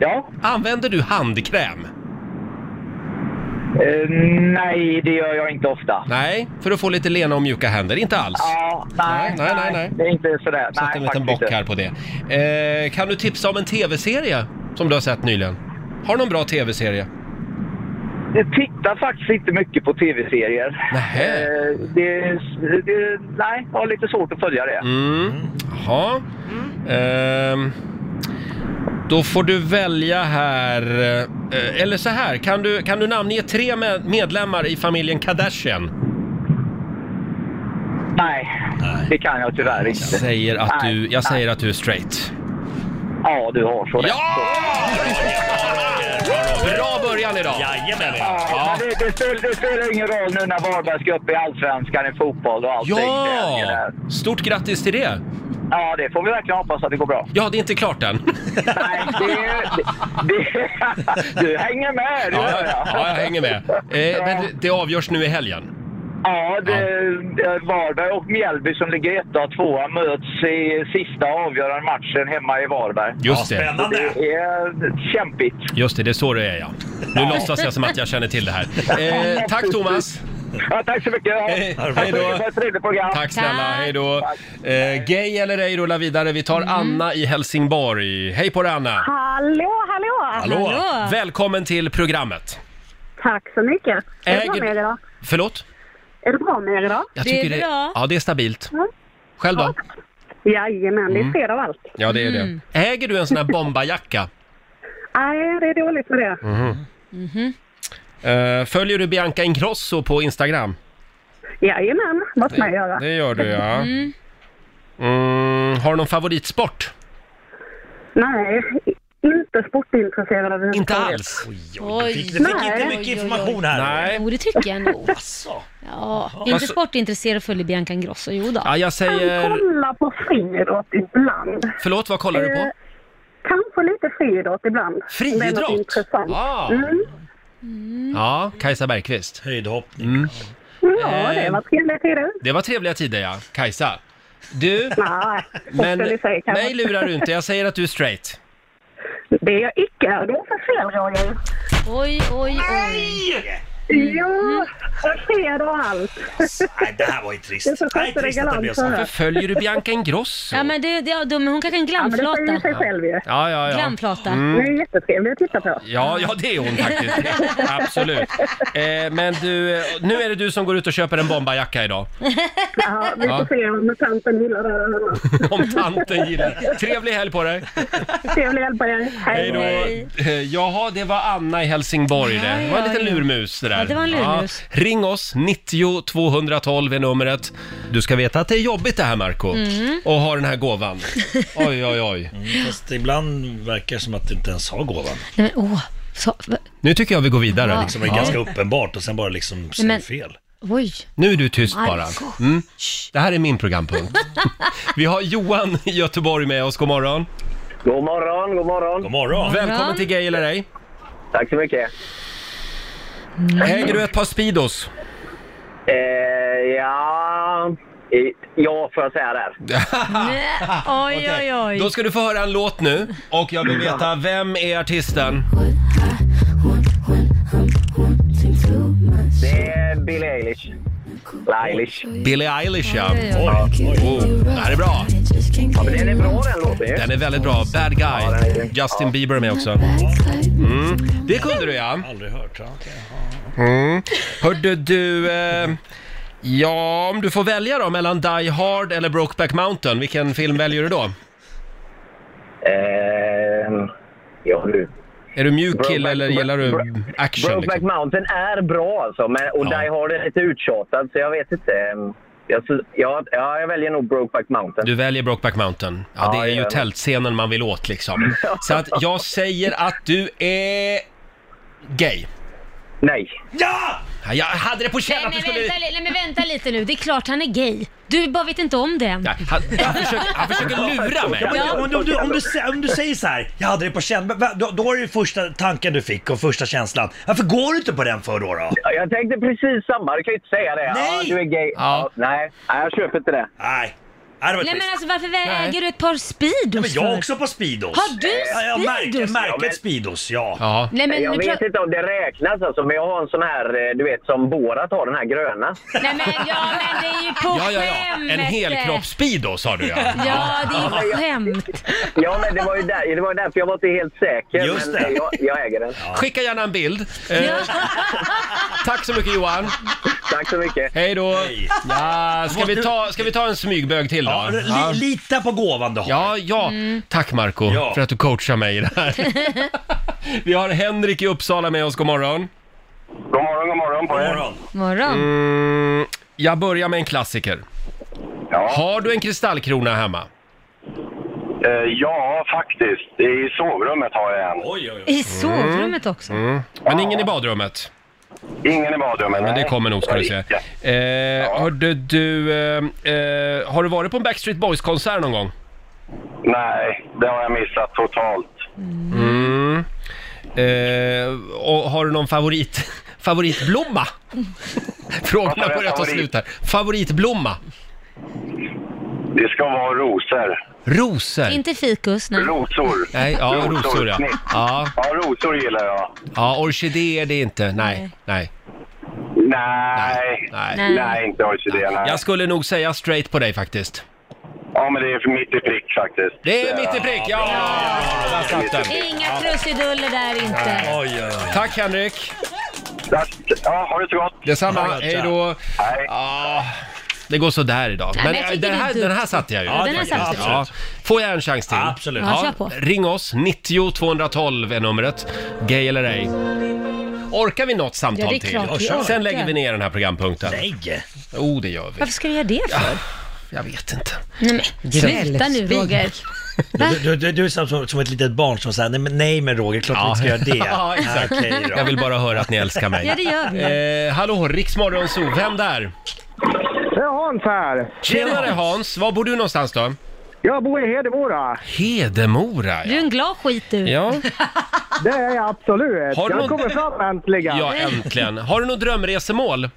F: Ja?
A: Använder du handkräm?
F: Eh, nej, det gör jag inte ofta.
A: Nej, för att få lite lena och mjuka händer. Inte alls.
F: Ja, nej,
A: Nej, nej, nej, nej.
F: Det är inte sådär.
A: Sätt en
F: nej,
A: liten
F: faktiskt
A: bock
F: inte.
A: här på det. Eh, kan du tipsa om en tv-serie som du har sett nyligen? Har du någon bra tv-serie?
F: Jag tittar faktiskt inte mycket på tv-serier.
A: Nähä.
F: Eh, det, det, nej, jag har lite svårt att följa det.
A: Mm. Jaha. Ehm, då får du välja här. Eh, eller så här, kan du, kan du namnge tre med- medlemmar i familjen Kardashian?
F: Nej, det kan jag tyvärr inte.
A: Jag säger att
F: Nej,
A: du, jag säger att du är straight.
F: Ja, du har så rätt.
A: Bra början idag!
G: Jajamän!
F: Ja, men det, det, spelar, det spelar ingen roll nu när Varberg ska upp i Allsvenskan i fotboll och allting. Det är- det
A: Ja!
F: är-
A: Stort grattis till det!
F: ja, det får vi verkligen hoppas att det går bra.
A: Ja, det är inte klart än.
F: Nej, det, det, det, du hänger med, det
A: Ja,
F: gör
A: jag, ja, jag hänger med. Eh, men det- det avgörs nu i helgen.
F: Ja, det, det- Varberg och Mjällby som ligger etta och tvåa möts i sista avgörande matchen hemma i Varberg.
A: Just det.
G: Spännande!
F: Det är kämpigt.
A: Just det, det är så det är ja. Nu låtsas jag som att jag känner till det här. Eh, tack Thomas!
F: Ja, tack så mycket.
A: Hej,
F: tack
A: hej
F: så
A: då.
F: mycket för ett trevligt program.
A: Tack snälla,
B: Tack. Mm.
A: hej då! Eh, gay eller ej rullar vidare. Vi tar Anna i Helsingborg. Hej på dig Anna!
J: Hallå, hallå!
B: Hallå.
A: Välkommen till programmet!
J: Tack så mycket. Är det bra
A: Äger-
J: med er idag?
A: Förlåt?
J: Är det bra med er idag?
A: Jag
B: Det är
A: tycker
B: bra.
A: Ja, det är stabilt. Själv då?
J: Jajamän,
A: Mm.
J: det är fred av allt.
A: Ja, det är
B: Mm.
A: det. Äger du en sån här bombajacka?
J: Nej, det är dåligt med det.
A: Eh, följer du Bianca Ingrosso på Instagram?
J: Jajamän, vad ska jag göra?
A: Det gör du ja. Mm, har du någon favoritsport?
J: Nej, inte sportintresserad överhuvudtaget.
A: Inte alls?
B: Oj.
G: Fick, du fick
J: Nej.
G: inte mycket information här.
A: Nej.
B: Jo, det tycker jag nog.
G: Asså.
B: Ja, inte
A: Alltså-
B: sportintresserad och följer Bianca Ingrosso, jo då.
A: Ja, jag
J: Jag
A: säger...
J: kollar på friidrott ibland.
A: Förlåt, vad kollar du på?
J: Eh, Kanske lite friidrott ibland. Det är något
A: Friidrott?
J: intressant.
A: Ah.
J: Mm.
A: Ja, Kajsa Bergqvist. Mm.
G: Höjdhoppning.
J: Ja, det
A: Eh.
J: var trevliga tider.
A: Det var trevliga tider ja, Kajsa. Du,
J: Nej,
A: men
J: men, säga, kanske.
A: mig lurar du inte. Jag säger att du är straight.
J: Det är jag icke. Du har för fel, Roger.
B: Oj, oj, oj.
J: Jo, parkera och allt.
A: Alltså.
G: Nej, det här var ju trist.
J: Det är så
G: Nej,
J: skönt och
G: trist att det blev
J: galant
G: så.
J: så
G: här.
J: här.
A: Följer du Bianca Ingrosso?
B: Ja, men det, det, ja, de- hon kanske är en
J: Ja, men det
B: glamflata.
J: säger ju sig själv ju.
A: Ja, ja, ja.
B: Glamflata.
J: Hon är jättetrevlig att titta på.
A: Ja, ja, det är hon faktiskt. Absolut. Eh, men du, eh, nu är det du som går ut och köper en bomberjacka idag.
J: Ja, vi får se om tanten gillar det här eller inte.
A: Om tanten gillar det. Trevlig helg på dig!
J: Trevlig helg på er.
A: Hej då! Eh, Jaha, det var Anna i Helsingborg det. Det var en
B: Ja,
A: liten
B: ja.
A: lurmus det där.
B: Ja, det var en lurmus.
A: Ja, ring oss, 90 212 är numret. Du ska veta att det är jobbigt det här Marco
B: Mm.
A: och ha den här gåvan. Oj, oj, oj.
G: Mm, Fast ibland verkar det som att du inte ens har gåvan.
B: Nej, men, åh, så, va-
A: Nu tycker jag vi går vidare.
B: Ja.
A: Liksom.
G: Som är ganska uppenbart och sen bara liksom säger
B: Men-
G: fel.
B: oj.
A: Nu är du tyst bara.
B: Marco.
A: Mm. Det här är min programpunkt. Vi har Johan i Göteborg med oss, god morgon.
F: God morgon, god morgon.
G: God morgon.
A: Välkommen till Gay eller ej.
F: Tack så mycket.
A: Äger du ett par Speedos?
F: Eh, ja, i- ja får jag säga där.
B: Nej, oj, oj, oj.
A: Då ska du få höra en låt nu och jag
F: Mm.
A: vill veta, vem är artisten?
F: Det är Billie Eilish. Eilish.
A: Billie Eilish ja.
B: Oj, oj,
A: Oh, det här är bra.
F: Ja, men den är bra den låten ju.
A: Den är väldigt bra. Bad Guy.
F: Ja, den är grym.
A: Justin Bieber är med också. Mm. Det kunde du ja.
G: Aldrig hört. Ja, okej.
A: Hörde du... Eh, ja, om du får välja då mellan Die Hard eller Brokeback Mountain, vilken film väljer du då?
F: Eh, ja, du.
A: Är du mjuk
F: Brokeback-
A: kille eller gillar du
F: Bro-
A: action?
F: Brokeback
A: Liksom?
F: Mountain är bra alltså, men, och
A: Ja.
F: Die Hard är lite uttjatad så jag vet inte. Ehm, Jag, ja, ja, jag väljer nog Brokeback Mountain.
A: Du väljer Brokeback Mountain. Ja,
F: Ja,
A: det är ju
F: ja.
A: tältscenen man vill åt liksom. Så att jag säger att du är gay.
F: Nej.
G: Ja!
A: Ja, Jag hade det på känn
B: Nej
A: att du
B: men,
A: skulle...
B: vänta, li- nej men vänta lite nu, det är klart han är gay. Du bara vet inte om det än.
A: Nej, han, han, försöker, han försöker lura mig.
G: Ja, men Om, om, du, om, du, sä- om du säger så här, jag hade det på känn, men va- då, då är det ju första tanken du fick och första känslan. Varför går du inte på den för då? då?
F: Ja, Jag tänkte precis samma, du kan ju inte säga det.
G: Nej!
F: Ja, du är gay.
A: Ja.
F: Ja. nej. nej, jag köper inte det.
G: Nej, Nej, det var
B: Nej men
G: trist.
B: alltså varför
A: Nej.
B: äger du ett par Speedos
G: Men jag har
B: för?
G: också på Speedos.
B: Har du
G: Ja, jag märker,
B: Speedos?
G: märket
F: Ja, men-
G: Speedos, ja.
A: Ja.
B: Nej men, nu
F: jag vet
B: pra-
F: inte om det räknas alltså, men jag har en sån här, eh, du vet som Borat har, den här gröna.
B: nej men, ja men det är ju på
A: Ja, ja, ja.
B: skämt!
A: En helkropps-speedo sa du ja.
B: Ja, det är ju skämt.
F: Ja, men det var ju, där, det var ju därför jag var inte helt säker.
G: Just
F: men
G: det.
F: eh, Jag, jag äger den.
A: Skicka gärna en bild. Eh, Tack så mycket Johan.
F: Tack så mycket.
A: Hej då.
G: Hej.
A: Ja, ska, vi ta, ska vi ta en smygbög till
G: Ja,
A: då?
G: li,
A: Ja.
G: Lita på gåvan du har. Mm.
A: Ja, ja. Tack Marco
G: Ja.
A: för att du coachar mig i det här. Vi har Henrik i Uppsala med oss, god morgon.
F: God morgon, god morgon på
G: God morgon.
B: Morgon.
A: Mm, jag börjar med en klassiker.
F: Ja. Eh,
A: Har du en kristallkrona hemma?
F: ja, faktiskt. I sovrummet har jag en.
G: Oj, oj, oj.
B: I sovrummet också.
A: Mm, Men ingen i badrummet?
F: Ingen i badrummet.
A: Men det kommer nog ska du se. Eh, Hörde du... Eh, eh, har du varit på en Backstreet Boys-konsert någon gång?
F: Nej, det har jag missat totalt.
B: Mm.
A: Mm. Eh, och har du någon favorit, favoritblomma? Frågorna
F: Vad sa du,
A: börjar ta
F: favorit?
A: slut här. Favoritblomma?
F: Det ska vara rosor.
A: Rosor?
B: Inte fikus, nej.
F: Rosor.
A: Nej, ja, rosor ja.
F: snitt.
A: Ja,
F: Ja, rosor gillar jag.
A: ja, orkidéer det är inte. Nej, nej,
B: Nej.
F: Nej,
A: nej.
B: Nej.
F: nej, inte orkidé. Nej.
A: Jag skulle nog säga straight på dig faktiskt.
F: Ja, men det är mitt i prick faktiskt.
A: Det är mitt i prick, ja! Där satt den.
B: Inga krusiduller där inte.
G: Oj, oj, oj.
A: Tack Henrik!
F: Ja, har det så gott.
A: Detsamma,
G: Ja,
A: hej då!
F: Hej.
A: Ah, det går så där idag.
B: Nej,
A: Men
B: men jag
A: eh,
B: tycker
A: den
B: det är
A: här,
B: dumt.
A: den här satte jag ju.
B: den här
G: faktiskt.
B: satt
A: Ja. Får jag en chans till?
G: Absolut.
B: Ja, kör på.
A: Ring oss, 90 212 är numret. Gay eller ej. Orkar vi något samtal
B: Ja, det är klart
A: till?
B: vi orkar.
A: Sen lägger vi ner den här programpunkten.
G: Nej.
A: Oh, det gör vi.
B: Varför ska du göra det för?
A: Jag vet inte.
B: Nej men, sluta nu Roger.
G: Du, du, du, du är som, som ett litet barn som säger nej men, nej, men Roger, klart vi inte ska göra det.
A: Ja, exakt.
G: Okej
A: Jag
G: då.
A: vill bara höra att ni älskar mig.
B: Ja, det gör vi.
A: Eh, hallå, Riksmorgonzoo, vem där?
F: Det är Hans här.
A: Tjenare Hans, var bor du någonstans då?
F: Jag bor i Hedemora.
A: Hedemora,
B: Du är
A: ja.
B: en glad skit du.
A: Ja,
F: Det är jag absolut.
A: Har du någon-
F: Jag kommer fram äntligen.
A: ja, äntligen. Har du något drömresemål?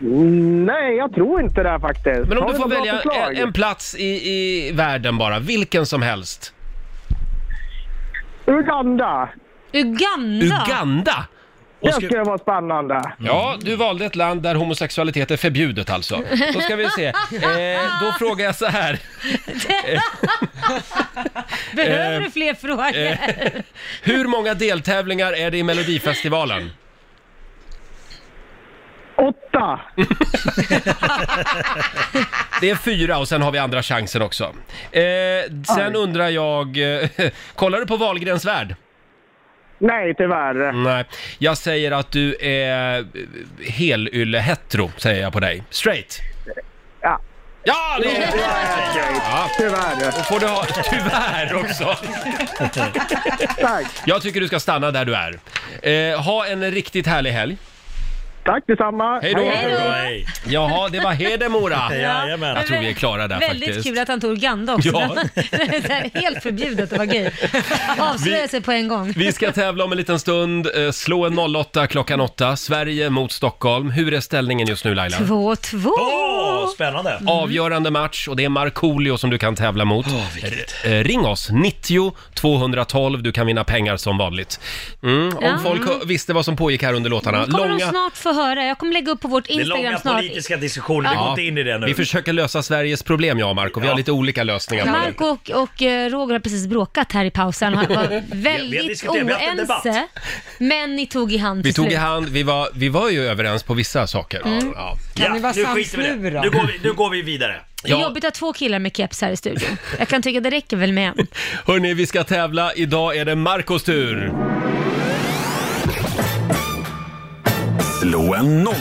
F: Mm, Nej, jag tror inte det faktiskt.
A: Men om
F: Har
A: du får
F: något bra
A: välja
F: förslag?
A: en, en plats i, i världen bara, vilken som helst.
F: Uganda.
B: Uganda.
F: Mm.
A: Uganda? Och
K: Det
A: ska-
K: ska vara spännande.
A: Ja, du valde ett land där homosexualitet är förbjudet alltså. Då ska vi se. Eh, då frågar jag så här.
B: Behöver
A: Eh,
B: du fler frågor?
A: Eh, hur många deltävlingar är det i Melodifestivalen?
K: Åtta!
A: Det är fyra och sen har vi andra chansen också. Eh, sen undrar jag, eh, kollar du på Wahlgrens värld?
K: Nej, tyvärr.
A: Nej, jag säger att du är eh, helylle-hetero, säger jag på dig. Straight?
K: Ja.
A: Ja, det är ja.
K: Tyvärr.
A: Då får du ha tyvärr också.
K: Tack.
A: Jag tycker du ska stanna där du är. Eh, ha en riktigt härlig helg.
K: Tack detsamma.
A: Hej då!
G: Hej.
A: Jaha, det var Hedemora.
G: Jajamän.
A: Jag tror vi är klara där
B: Väldigt
A: faktiskt.
B: kul att han tog Uganda också.
A: Ja.
B: det är helt förbjudet att vara gay. Avslöja
A: Vi-
B: sig på en gång.
A: Vi ska tävla om en liten stund. Eh, Slå en 08 klockan 8. Sverige mot Stockholm. Hur är ställningen just nu Laila?
B: 2-2.
G: Åh, spännande.
B: Mm.
A: Avgörande match och det är Markoolio som du kan tävla mot. Eh, Ring oss, 90 212. Du kan vinna pengar som vanligt. Mm, om
B: Ja. Mm,
A: folk hö- visste vad som pågick här under låtarna.
B: kommer de snart få höra. Jag kommer lägga upp på vårt
G: Det är
B: Instagram
G: långa
B: snart.
G: politiska diskussioner, vi går inte in i det nu.
A: Vi försöker lösa Sveriges problem jag och Marco. Vi har
G: Ja.
A: lite olika lösningar på det.
B: Marco och, och eh, Roger har precis bråkat här i pausen. Han var väldigt
G: diskuterat, vi har haft en debatt.
B: oense, men ni tog i hand till
A: Vi tog i
B: slut.
A: hand, vi var, vi var ju överens på vissa saker. Ja.
C: Kan ni vara
G: Mm. nu skiter vi i
C: sams nu
G: det.
C: då?
G: Nu går vi, nu går vi vidare.
B: Det är
A: Ja.
B: jobbigt att ha två killar med keps här i studion. Jag kan tycka det räcker väl med en.
A: Hörni, vi ska tävla. Idag är det Marcos tur.
D: Slå en 08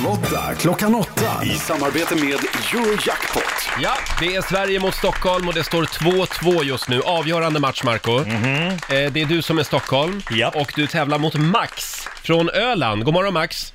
D: klockan 8 i samarbete med Eurojackpot.
A: Ja, det är Sverige mot Stockholm och det står 2-2 just nu. Avgörande match, Marco.
G: Mhm.
A: Eh, det är du som är Stockholm
G: Japp.
A: och du tävlar mot Max från Öland. God morgon, Max.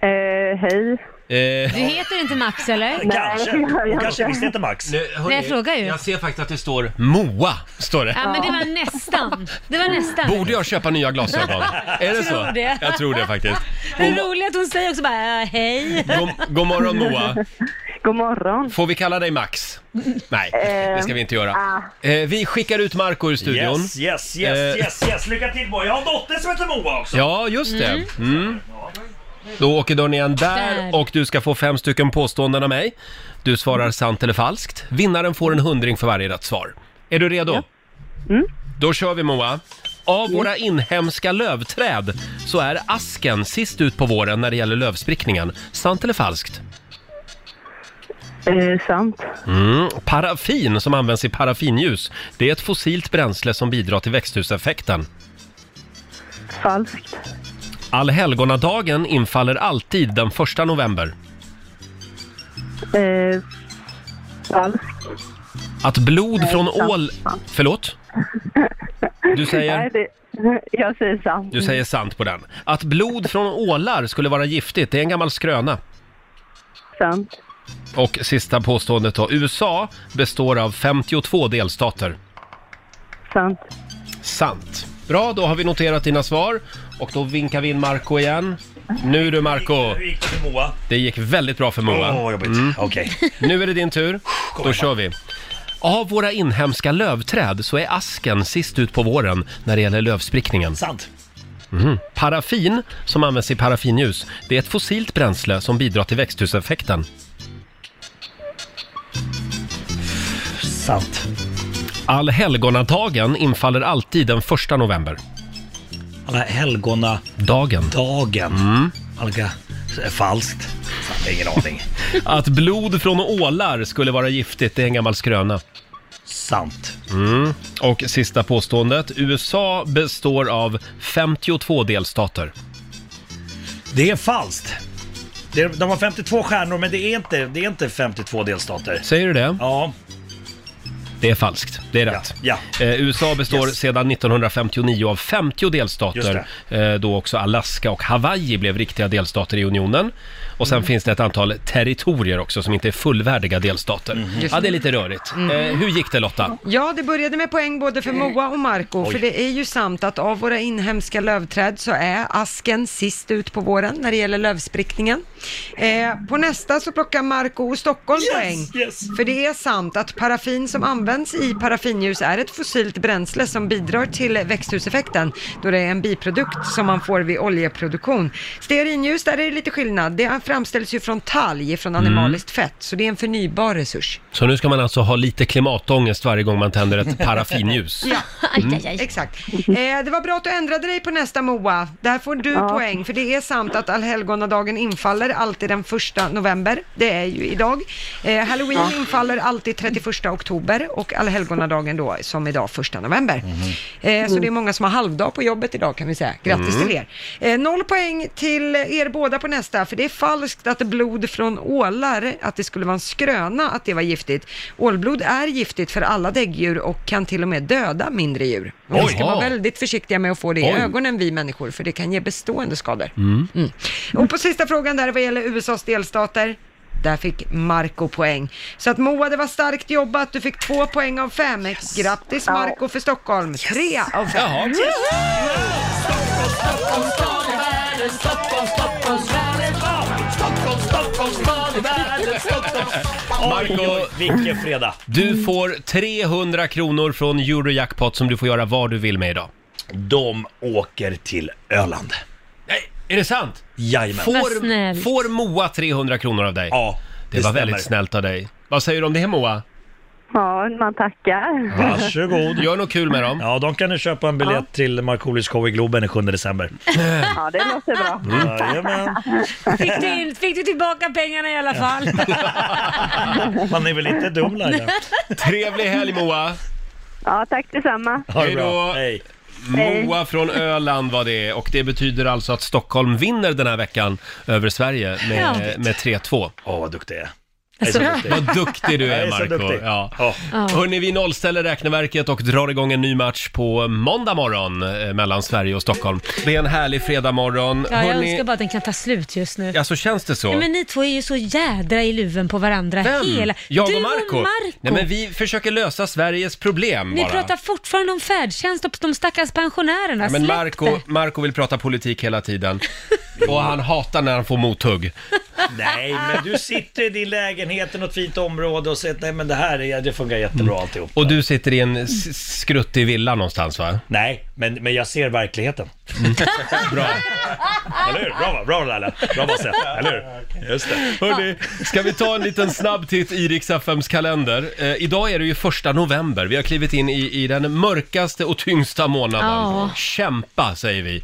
J: Eh, hej.
A: Eh,
B: Du heter inte Max eller?
G: Kanske.
J: det gör jag
G: Hon
J: inte.
G: kanske visste inte Max.
A: hörni,
B: jag frågar ju.
A: Jag ser faktiskt att det står Moa, står det.
B: Ja, men det var nästan. Det var nästan.
A: Borde jag köpa nya glasögon? Är det så?
B: Tror det.
A: Jag tror det faktiskt.
B: Det är roligt att hon säger också bara äh, hej.
A: God, god morgon Moa.
J: God morgon.
A: Får vi kalla dig Max? Nej, det ska vi inte
J: ah.
A: göra. Eh, vi skickar ut Marco ur studion.
G: Yes, yes,
A: Eh.
G: yes, yes, yes. Lycka till boy. Jag har en dotter som heter Moa också.
A: Ja, just det. Mm. Då åker dörren igen där
B: Där.
A: och du ska få fem stycken påståenden av mig. Du svarar sant eller falskt. Vinnaren får en hundring för varje rätt svar. Är du redo? Då kör vi Moa. Av våra inhemska lövträd så är asken sist ut på våren när det gäller lövsprickningen. Sant eller falskt?
J: Eh, sant.
A: Mm. Paraffin som används i paraffinljus, det är ett fossilt bränsle som bidrar till växthuseffekten.
J: Falskt.
A: Allhelgonadagen infaller alltid den 1 november.
J: Eh, falskt.
A: Att blod från
J: sant,
A: ål...
J: sant.
A: Förlåt? Du
J: Nej,
A: säger,
J: det... Jag säger sant.
A: du säger sant på den. Att blod från ålar skulle vara giftigt, det är en gammal skröna.
J: Sant.
A: Och sista påståendet då. USA består av 52 delstater.
J: Sant.
A: Sant. Bra, då har vi noterat dina svar. Och då vinkar vi in Marco igen. Nu du Marco,
G: Hur gick det för Moa?
A: det gick väldigt bra för
G: Åh,
A: Moa. Mm.
G: vad jobbigt. Okej.
A: Nu är det din tur. Då
G: igen,
A: kör vi. Av våra inhemska lövträd så är asken sist ut på våren när det gäller lövsprickningen. Mhm.
G: Sant.
A: Paraffin, som används i paraffinljus, det är ett fossilt bränsle som bidrar till växthuseffekten.
G: Sant.
A: Allhelgonadagen infaller alltid den 1 november.
G: Alla helgona
A: Dagen.
G: dagen. Mm. Alga. Falskt. Sant. Ingen aning.
A: Att blod från ålar skulle vara giftigt, det är en gammal skröna. Mm.
G: Sant.
A: Och sista påståendet. USA består av 52 delstater.
G: Det är falskt. Det är, de har 52 stjärnor men det är inte, det är inte 52 delstater.
A: Säger du det?
G: Ja,
A: Det är falskt. Det är rätt.
G: ja.
A: Eh, USA består
G: Yes.
A: sedan 1959 av 50 delstater.
G: Just
A: Eh, då också Alaska och Hawaii blev riktiga delstater i unionen.
G: Mm.
A: Och sen finns det ett antal territorier också som inte är fullvärdiga delstater.
G: Mm.
A: Ja, det är lite rörigt. Eh, hur gick det Lotta?
C: Ja, det började med poäng både för Moa och Marco, för det är ju sant att av våra inhemska lövträd så är asken sist ut på våren när det gäller lövsprickningen. Eh, på nästa så plockar Marco Stockholm
E: Yes,
C: poäng.
E: yes.
C: För det är sant att paraffin som används i paraffinljus är ett fossilt bränsle som bidrar till växthuseffekten då det är en biprodukt som man får vid oljeproduktion. Stearinljus, där är det lite skillnad. Det framställs ju från talg, från
A: Mm.
C: animaliskt fett, så det är en förnybar resurs.
A: Så nu ska man alltså ha lite klimatångest varje gång man tänder ett paraffinljus.
C: Ja,
A: Mm.
C: exakt. Eh, det var bra att du ändrade dig på nästa Moa. Där får du
A: Ja.
C: poäng, för det är sant att allhelgonadagen infaller alltid den första november. Det är ju idag. Eh, Halloween
E: Ja.
C: infaller alltid 31 oktober och allhelgonadagen då som idag första
A: Mm.
C: november. Eh, så det är många som har halvdag på jobbet idag kan vi säga. Grattis
E: Mm.
C: till er. Eh, noll poäng till er båda på nästa, för det är falskt att blod från ålar, att det skulle vara en skröna att det var giftigt. Ålblod är giftigt för alla däggdjur och kan till och med döda mindre djur. Och Vi ska
E: Jaha.
C: vara väldigt försiktiga med att få det i
E: Oj.
C: ögonen, vi människor, för det kan ge bestående skador.
E: Mm.
C: Och på sista frågan där vad gäller USAs delstater, där fick Marco poäng. Så att Moa, det var starkt jobbat. Du fick två poäng av fem. Grattis Marco för Stockholm. Tre av fem.
E: Jaha. Stockholm stad i världen, Stockholm, Stockholm stad i världen, Stockholm, Stockholm stad i världen, Stockholm.
A: Marco,
G: vilken fredag!
A: Du får 300 kronor från Eurojackpot som du får göra vad du vill med idag.
G: De åker till Öland.
A: Nej, är det sant?
G: Jajamän.
A: Får, får Moa 300 kronor av dig?
G: Ja, det
A: Det, var
G: stämmer.
A: väldigt snällt av dig. Vad säger du om det Moa?
J: Ja, man tackar.
G: Varsågod.
A: Gör något kul med dem.
G: Ja, de kan du köpa en biljett till Markoolios show i Globen den 7 december.
J: Ja, det låter bra.
G: Jajamän.
B: Fick du, in, fick du tillbaka pengarna i alla fall?
G: Man är väl inte dum Laila?
A: Trevlig helg Moa!
J: Ja, tack detsamma.
A: Hej då!
J: Hej.
A: Moa från Öland var det och det betyder alltså att Stockholm vinner den här veckan över Sverige med,
B: Ja.
A: med 3-2.
G: Åh, vad duktig jag är.
A: Jag är så duktig. Alltså, Vad duktig du
G: Jag
A: är,
G: är så
A: Marco.
G: duktig.
A: Ja.
B: Ja.
A: Hörni, vi nollställer räkneverket och drar igång en ny match på måndag morgon eh, mellan Sverige och Stockholm. Det är en härlig fredagmorgon.
B: Ja, jag
A: Hörni,
B: önskar bara att den kan ta slut just nu.
A: ja, så känns det så?
B: Nej, men ni två är ju så jädra i luven på varandra hela...
A: Jag
B: du
A: och Marco.
B: Marco.
A: Nej, men vi försöker lösa Sveriges problem
B: Ni
A: bara.
B: pratar fortfarande om färdtjänst och de stackars pensionärerna.
A: Ja, men
B: Släpp
A: Marco,
B: det.
A: Marco vill prata politik hela tiden. Och han hatar när han får mothugg.
G: Nej, men du sitter i din lägenhet i något fint område och säger att nej men det här är, det funkar jättebra alltihop.
A: Och du sitter i en s- skruttig villa någonstans va? Mm.
G: Nej, men, men jag ser verkligheten.
A: Bra.
G: Eller hur? Bra, va? bra Laila. Bra Basse. Eller hur? Just det.
A: Hörni, ska vi ta en liten snabb titt i Rix FMs kalender? Eh, idag är det ju första november. Vi har klivit in i, i den mörkaste och tyngsta månaden.
E: Ja.
A: Kämpa, säger vi.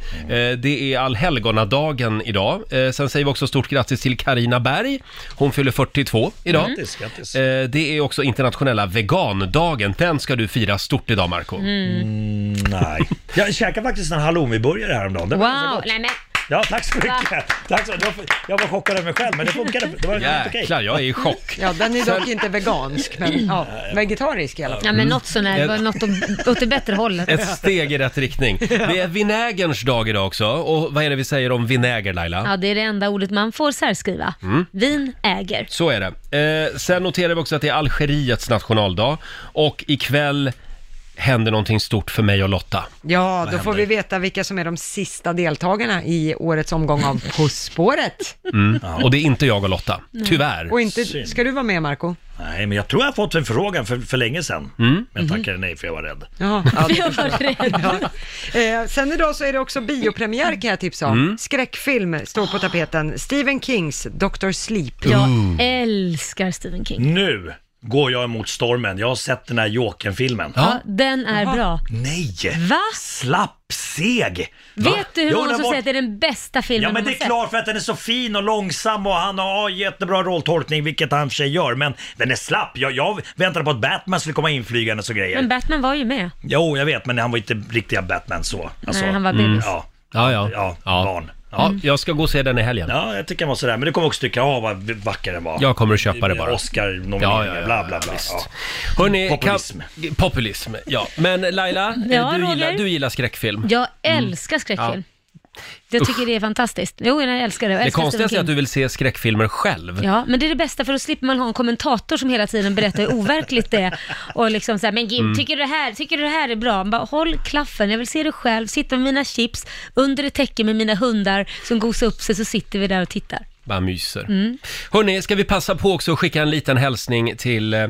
A: Eh, det är allhelgonadagen idag. Eh, sen säger vi också stort grattis till Karina Berg. Hon fyller 42 idag.
G: Grattis, grattis.
A: Eh, det är också internationella vegandagen. Den ska du fira stort idag, Marco.
G: Mm, nej. Jag käkade faktiskt en halloumiburgare häromdagen. Det var ganska
B: Wow,
G: gott.
B: nej men
G: Ja, tack så
B: Va?
G: mycket. Tack så, det var, jag var chockad över mig själv, men det funkade. Det var helt okej.
A: Jäklar, jag är i chock.
C: Ja, den är dock inte vegansk, men ja, vegetarisk i alla fall.
B: Ja men något sånär,
A: Mm.
B: det var något åt- åt det bättre hållet.
A: Ett steg i rätt riktning. Det är vinägerns dag idag också. Och vad är det vi säger om vinäger, Laila?
B: Ja, det är det enda ordet man får särskriva.
A: Mm.
B: Vin äger.
A: Så är det. Eh, sen noterar vi också att det är Algeriets nationaldag och ikväll händer någonting stort för mig och Lotta.
C: Ja,
A: Vad
C: då får vi veta vilka som är de sista deltagarna i årets omgång av På spåret.
A: Mm. Och det är inte jag och Lotta,
B: Mm.
C: Nej.
A: tyvärr.
C: Och inte, ska du vara med Marco?
G: Nej, men jag tror jag har fått en förfrågan för, för länge sedan.
A: Mm.
G: Men
B: Mhm.
G: jag tackade nej för jag var rädd.
C: Jaha, ja, det förstår jag. Ja. Eh, sen idag så är det också biopremiär kan jag tipsa om.
G: Mm.
C: Skräckfilm står på tapeten. Stephen Kings Dr. Sleep.
B: Jag älskar Stephen King.
G: Nu går jag emot stormen. Jag har sett den här Jokern-filmen.
B: Ja, den är bra.
G: Nej!
B: Va?
G: Slappseg!
B: Vet du hur
G: Jag
B: många
G: undrar
B: som
G: vart-
B: säger att det är den bästa filmen
G: Ja men
B: de
G: det
B: har
G: är
B: sett?
G: klart för att den är så fin och långsam och han har jättebra rolltolkning, vilket han i och för sig gör. Men den är slapp. Jag, jag väntade på att Batman skulle komma inflygande och grejer.
B: Men Batman var ju med.
G: Jo, jag vet, men han var inte riktiga Batman så. Alltså,
B: Nej, han var bebis. Mm.
G: Ja.
A: Ja, ja.
G: ja, barn.
A: Ja, jag ska gå och se den i helgen.
G: Ja, jag tycker han var sådär. Men du kommer också tycka, ja vad vacker den var.
A: Jag kommer att köpa det bara.
G: Oscar-nomineringar,
A: Ja, ja, ja,
G: bla bla bla.
A: visst.
G: Ja.
A: Hörrni,
G: Populism.
A: Kan... Populism, ja. Men Laila, eh,
B: Ja,
A: du,
B: Roger.
A: gillar, du gillar skräckfilm.
B: Jag älskar skräckfilm. Jag tycker det är fantastiskt. Jo, jag älskar det. Jag
A: Det
B: älskar Stephen
A: konstigaste är
B: King.
A: att du vill se skräckfilmer själv.
B: Ja, men det är det bästa för då slipper man ha en kommentator som hela tiden berättar hur overkligt det är. Och liksom såhär, men Jim,
A: Mm.
B: tycker du det här, tycker du det här är bra? Man bara, håll klaffen, jag vill se det själv, sitta med mina chips, under ett täcke med mina hundar som gosar upp sig, så sitter vi där och tittar.
A: Bara myser.
B: Mm.
A: Hörni, ska vi passa på också att skicka en liten hälsning till eh,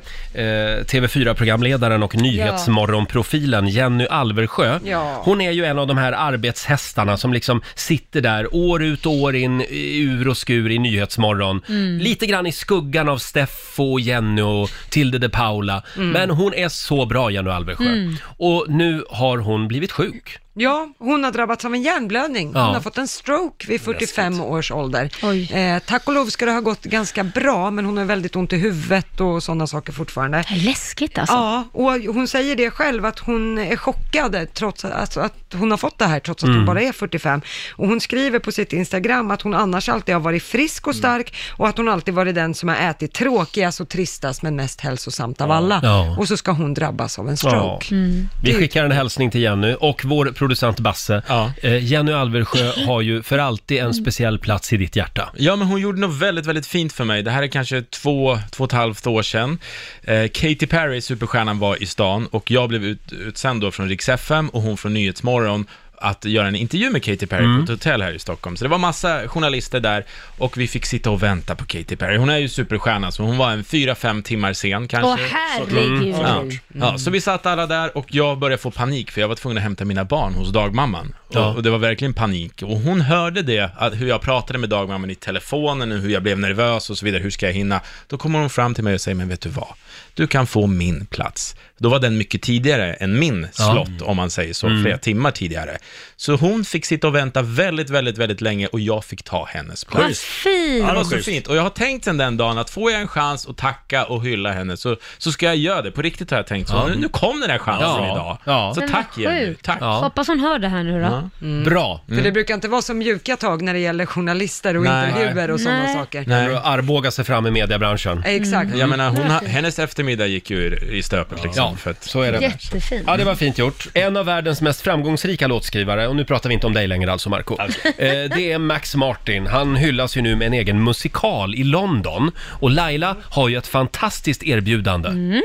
A: TV4-programledaren och Nyhetsmorgonprofilen Jenny Alversjö.
E: Ja.
A: Hon är ju en av de här arbetshästarna som liksom sitter där år ut och år in, i ur och skur i Nyhetsmorgon.
E: Mm.
A: Lite grann i skuggan av Steffo, och Jenny och Tilde de Paula.
C: Mm.
A: Men hon är så bra, Jenny Alversjö.
C: Mm.
A: Och nu har hon blivit sjuk.
C: Ja, hon har drabbats av en hjärnblödning. Hon
A: Ja.
C: har fått en stroke vid 45 års ålder. Eh, tack och lov ska det ha gått ganska bra, men hon har väldigt ont i huvudet och sådana saker fortfarande.
B: Läskigt alltså.
C: Ja, och hon säger det själv, att hon är chockad trots att, alltså, att hon har fått det här, trots att
E: Mm.
C: hon bara är 45. Och hon skriver på sitt Instagram att hon annars alltid har varit frisk och stark
A: Mm.
C: och att hon alltid varit den som har ätit tråkigast och tristast men mest hälsosamt av alla.
A: Ja.
C: Och så ska hon drabbas av en stroke.
A: Ja.
B: Mm.
A: Vi skickar en hälsning till Jenny och vår producent Basse. Eh, Jenny Alversjö har ju för alltid
B: Mm.
A: en speciell plats i ditt hjärta.
I: Ja, men hon gjorde något väldigt, väldigt fint för mig. Det här är kanske två, två och ett halvt år sedan. Eh, Katy Perry, superstjärnan, var i stan och jag blev ut, utsänd då från Rix FM och hon från Nyhetsmorgon att göra en intervju med Katy Perry
A: Mm.
I: på ett hotell här i Stockholm. Så det var massa journalister där och vi fick sitta och vänta på Katy Perry. Hon är ju superstjärna, så hon var en fyra fem timmar sen kanske.
B: Åh, herregud.
I: Ja.
B: Mm.
I: Ja, så vi satt alla där och jag började få panik för jag var tvungen att hämta mina barn hos dagmamman.
A: Ja.
I: Och, och det var verkligen panik. Och hon hörde det, att hur jag pratade med dagmamman i telefonen och hur jag blev nervös och så vidare, hur ska jag hinna? Då kommer hon fram till mig och säger, men vet du vad? Du kan få min plats. Då var den mycket tidigare än min
A: Ja.
I: slott, om man säger så,
A: Mm.
I: flera timmar tidigare. Så hon fick sitta och vänta väldigt, väldigt, väldigt länge och jag fick ta hennes plats.
B: Vad fint.
I: Ja, det var så fint. Och jag har tänkt sen den dagen att får jag en chans att tacka och hylla henne så, så ska jag göra det. På riktigt har jag tänkt så.
A: Ja.
I: Nu, nu kom den här chansen
A: Ja.
I: idag.
A: Ja.
I: Så
B: Men
I: tack
B: vad
I: Jenny.
B: sjukt.
I: Tack.
B: Hoppas hon hör det här nu då.
A: Bra.
C: För det brukar inte vara så mjuka tag när det gäller journalister och
I: Nej.
C: intervjuer och sådana
B: Nej.
C: saker.
A: Arboga sig fram i mediebranschen.
C: Exakt.
I: Jag menar, hon, har- hennes eftermiddag gick ju ur- i stöpet liksom.
A: Ja,
I: för att,
A: så är det.
B: Jättefint.
A: Ja, det var fint gjort. En av världens mest framgångsrika låtskrivare, och nu pratar vi inte om dig längre alltså Marco. Eh, Det är Max Martin. Han hyllas ju nu med en egen musikal i London. Och Laila har ju ett fantastiskt erbjudande.
B: Mm.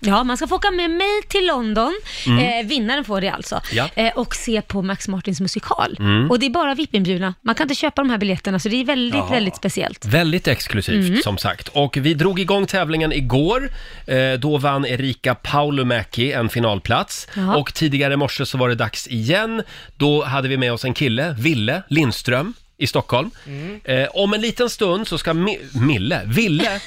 B: Ja, man ska få åka med mig till London,
A: Mm.
B: eh, vinnaren får det alltså,
A: Ja.
B: eh, och se på Max Martins musikal.
A: Mm.
B: Och det är bara VIP-inbjudna. Man kan inte köpa de här biljetterna, så det är väldigt,
A: Jaha.
B: väldigt speciellt.
A: Väldigt exklusivt
B: Mm.
A: som sagt. Och vi drog igång tävlingen igår. Eh, då vann Erika Paulumäki en finalplats.
B: Jaha.
A: Och tidigare i morse så var det dags igen. Då hade vi med oss en kille, Ville Lindström i Stockholm.
B: Mm.
A: Eh, om en liten stund så ska Mi- Mille, Ville,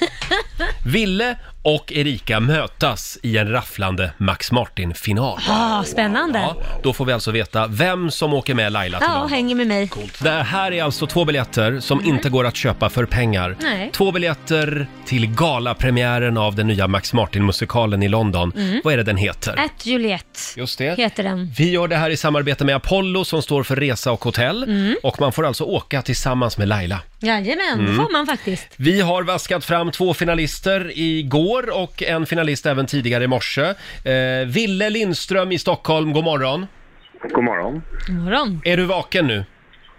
A: Ville och Erika mötas i en rafflande Max Martin-final.
B: Ah, spännande.
A: Ja, då får vi alltså veta vem som åker med Laila till
B: Ja,
A: London.
B: hänger med mig.
A: Det här är alltså två biljetter som inte går att köpa för pengar.
B: Nej.
A: Två biljetter till galapremiären av den nya Max Martin-musikalen i London.
B: Mm.
A: Vad är det den heter?
B: At Juliet
A: Just det.
B: heter den.
A: Vi gör det här i samarbete med Apollo som står för resa och hotell.
B: Mm.
A: Och man får alltså åka tillsammans med Laila.
B: Jajamän,
A: Mm.
B: det får man faktiskt.
A: Vi har vaskat fram två finalister igår och en finalist även tidigare i morse. Eh, Ville Lindström i Stockholm, god morgon.
F: God morgon.
B: God morgon.
A: Är du vaken nu?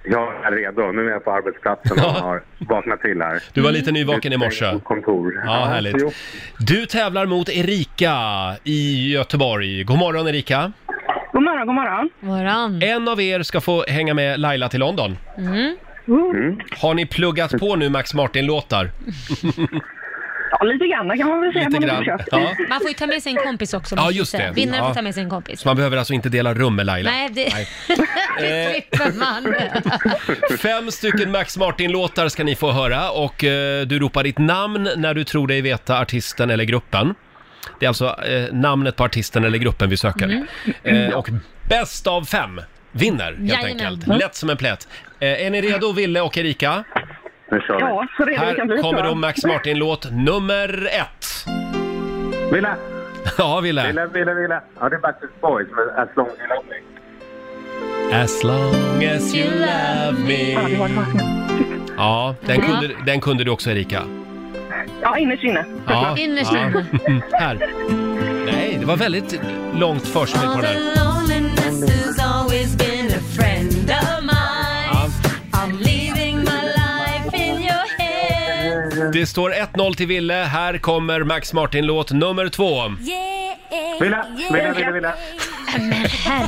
F: Jag är redo. Nu är jag på arbetsplatsen och har vaknat till här.
A: Du var lite nyvaken i morse.
F: Kontor.
A: Ja, härligt.
F: jo.
A: Du tävlar mot Erika i Göteborg. God morgon Erika!
J: God morgon, god morgon.
B: morgon.
A: En av er ska få hänga med Laila till London.
J: Mm.
A: Har ni pluggat på nu Max Martin-låtar?
J: Ja, lite grann kan man väl säga.
A: Lite
J: man har
A: grann,
J: försökt.
A: ja.
B: Man får ju ta med sig en kompis också.
A: Ja,
B: måste jag
A: just
B: säga.
A: det.
B: Vinnaren
A: Ja.
B: får ta med sig en kompis.
A: Så man behöver alltså inte dela rum med Laila?
B: Nej, det, det slipper man.
A: Fem stycken Max Martin-låtar ska ni få höra och eh, du ropar ditt namn när du tror dig veta artisten eller gruppen. Det är alltså eh, namnet på artisten eller gruppen vi söker.
E: Mm.
A: Eh, och bäst av fem vinner helt
E: Jajamän.
A: enkelt.
E: Mm.
A: Lätt som en plätt. Eh, är ni redo, Ville och Erika?
F: Nu kör vi.
J: Ja, så redo vi kan bli.
A: Här kommer
J: tror
A: då
J: jag.
A: Max Martin-låt nummer ett.
F: Ville!
A: Ja, Ville.
F: Ville, Ville, Ville. Ja, det är Backstreet Boys med As long as you love me.
A: As long as you love me. Ja, den
J: Ja.
A: kunde, den kunde du också Erika.
J: Ja, innerst inne.
A: Ja,
J: Innerst
A: ja. Mm.
J: inne.
A: Här. Nej, det var väldigt långt förspel på den. här. Ja. Det står 1-0 till Ville. Här kommer Max Martin-låt nummer två.
F: Ville, Ville, Ville, Ville.
B: Ville,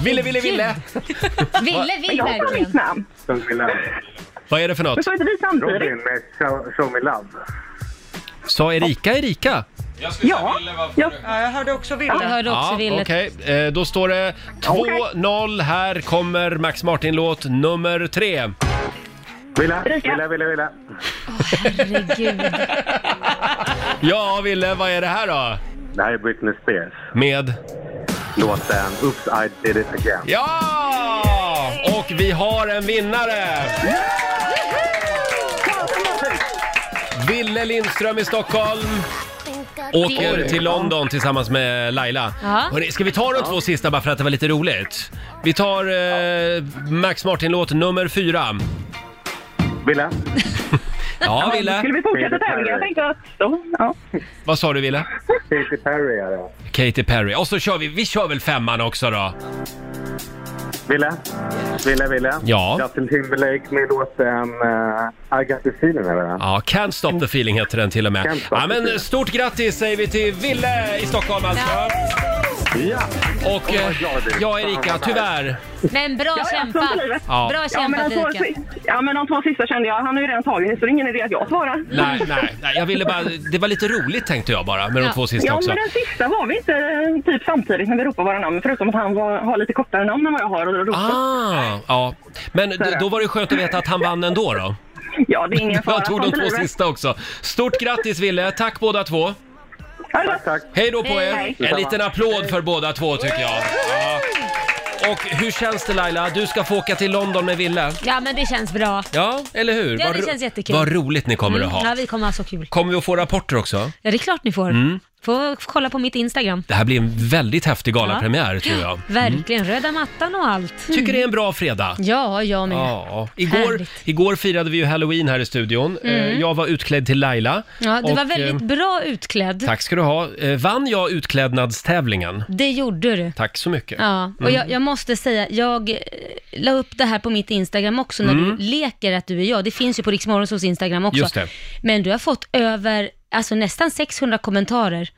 A: Ville, Ville.
B: Ville vill verkligen.
F: Som Ville.
A: Vad är det för något?
J: Men får inte vi samtidigt?
F: Robin med Show, show Me Love.
A: Sa Erika Erika?
C: Ja. ja, jag hörde också Ville.
B: Jag hörde också Ville.
A: Okej, Eh, då står det 2-0. Här kommer Max Martin-låt nummer tre.
F: Villa, villa, villa, villa.
B: Herregud.
A: Ja, Ville, vad är det här då?
F: Det här är Britney Spears.
A: Med?
F: Låten Oops I did it again.
A: Ja! Och vi har en vinnare! Ville Lindström i Stockholm åker till London tillsammans med Laila.
B: Ja.
A: Hörrni, ska vi ta de två sista bara för att det var lite roligt? Vi tar eh, Max Martin-låt nummer fyra.
F: Villa,
A: Ja, Ville.
J: Skulle vi fortsätta tävlingen? Jag tänkte att så. Ja.
A: Vad sa du, Ville?
F: Katy Perry är det.
A: Katy Perry. Och så kör vi, vi kör väl femman också då?
F: Villa, villa, villa.
A: Ja.
F: Justin Timberlake med låten eh, I got the feeling är det. va?
A: Ja, Can't Stop the Feeling heter den till och
F: Can't
A: med.
F: Stop
A: Ja,
F: the
A: men
F: Feeling.
A: stort grattis säger vi till Ville i Stockholm alltså.
F: Ja.
A: Och eh,
F: vad glad jag är.
A: ja,
F: Fan,
A: Erika,
F: vad
A: tyvärr.
B: Men bra
J: ja,
B: kämpat.
J: sånt är livet.
A: Ja.
B: Bra
J: Ja men,
B: kämpat
J: de två,
B: Erika.
J: si- ja, men de två sista kände jag, han har ju redan tagit det, så det är ingen idé att jag svarar.
A: Nej, nej, nej, jag ville bara, det var lite roligt tänkte jag bara med de
B: Ja.
A: två sista
J: Ja,
A: också.
J: men den sista var vi inte eh, typ samtidigt när vi ropade våra namn, förutom att han var, har lite kortare namn än vad jag har. Och ropar.
A: Ah, ja. Men d- då var det skönt att veta att han vann ändå då.
J: Ja, det är ingen fara.
A: Jag tog de
J: sånt är
A: två
J: livet.
A: sista också. Stort grattis Ville, tack båda två.
J: Ha det bra.
F: Tack, tack.
A: Hej då på er!
J: Hej.
A: En liten applåd för båda två tycker jag. Ja. Och hur känns det Laila? Du ska få åka till London med Ville.
B: Ja men det känns bra.
A: Ja, eller hur?
B: Ja,
A: Vad
B: det
A: ro-
B: känns jättekul.
A: Vad roligt ni kommer att
B: Mm. Ja
A: ha. Mm.
B: vi kommer ha så kul.
A: Kommer vi att få rapporter också?
B: Ja det är klart ni får. Får kolla på mitt Instagram.
A: Det här blir en väldigt häftig galapremiär tror jag. Mm.
B: Verkligen, röda mattan och allt. Mm.
A: Tycker det är en bra fredag.
B: Ja, jag med.
A: Ja, igår,
B: Härligt. Mm.
A: igår firade vi ju halloween här i studion. Eh, Jag var utklädd till Laila.
B: Ja, du
A: Och,
B: var
A: eh,
B: väldigt bra utklädd.
A: Tack ska du ha. Eh, Vann jag utklädnadstävlingen?
B: Det gjorde du.
A: Tack så mycket. Mm.
B: Ja, och jag, jag måste säga, jag eh, la upp det här på mitt Instagram också när du leker att du är jag. Det finns ju på Riksmorgonsols Instagram också.
A: Mm. Just det.
B: Men du har fått över, alltså nästan 600 kommentarer.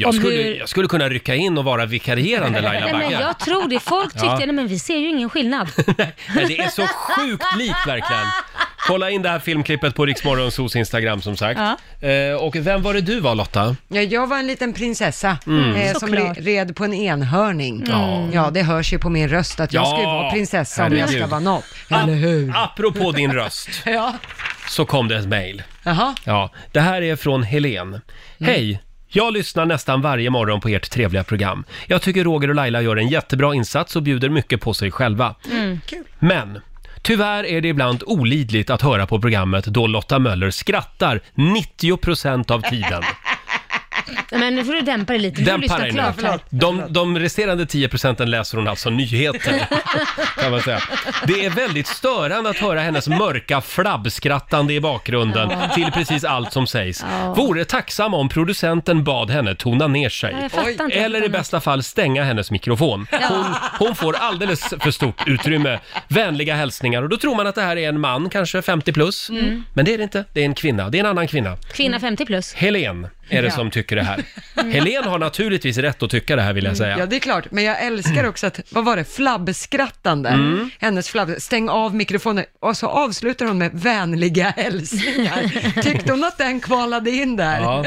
A: Jag
B: Om
A: skulle,
B: hur-
A: jag skulle kunna rycka in och vara vikarierande Laila
B: Nej, men
A: Bagge.
B: jag tror det. Folk tyckte,
A: Ja.
B: nej men vi ser ju ingen skillnad.
A: Nej, det är så sjukt likt verkligen. Kolla in det här filmklippet på Riksmorgonsos Instagram som sagt. Eh, och vem var det du var Lotta?
C: Ja, jag var en liten prinsessa eh, som
B: Såklart.
C: re- red på en enhörning.
A: Ja.
C: Ja, det hörs ju på min röst att jag
A: Ja,
C: ska ju vara prinsessa om jag ska
A: herregud.
C: vara något. Eller hur?
A: Apropå din röst
C: Ja.
A: så kom det ett mejl.
C: Jaha.
A: Ja, det här är från Helen. Hej! Jag lyssnar nästan varje morgon på ert trevliga program. Jag tycker Roger och Laila gör en jättebra insats och bjuder mycket på sig själva.
I: Mm.
A: Men, tyvärr är det ibland olidligt att höra på programmet då Lotta Möller skrattar 90% av tiden.
B: Men nu får du dämpa dig lite. Du får
A: Dämpa
B: lyssna
A: dig nu.
B: klart här.
A: De, de resterande 10 procenten läser hon alltså nyheter, kan man säga. Det är väldigt störande att höra hennes mörka flabbskrattande i bakgrunden till precis allt som sägs. Vore tacksam om producenten bad henne tona ner sig.
B: Ja, jag fattar inte riktigt
A: Eller i
B: den här.
A: bästa fall stänga hennes mikrofon. Hon, hon får alldeles för stort utrymme. Vänliga hälsningar. Och då tror man att det här är en man, kanske 50 plus.
B: Mm.
A: Men det är det inte. Det är en kvinna. Det är en annan kvinna.
B: Kvinna 50 plus.
A: Helen är det som tycker det här. Helen har naturligtvis rätt att tycka det här vill jag säga.
C: Mm. Ja, det är klart. Men jag älskar också att, vad var det, flabbskrattande.
A: Mm.
C: Hennes flabb, stäng av mikrofonen. Och så avslutar hon med vänliga hälsningar. Tyckte hon att den kvalade in där?
A: Ja.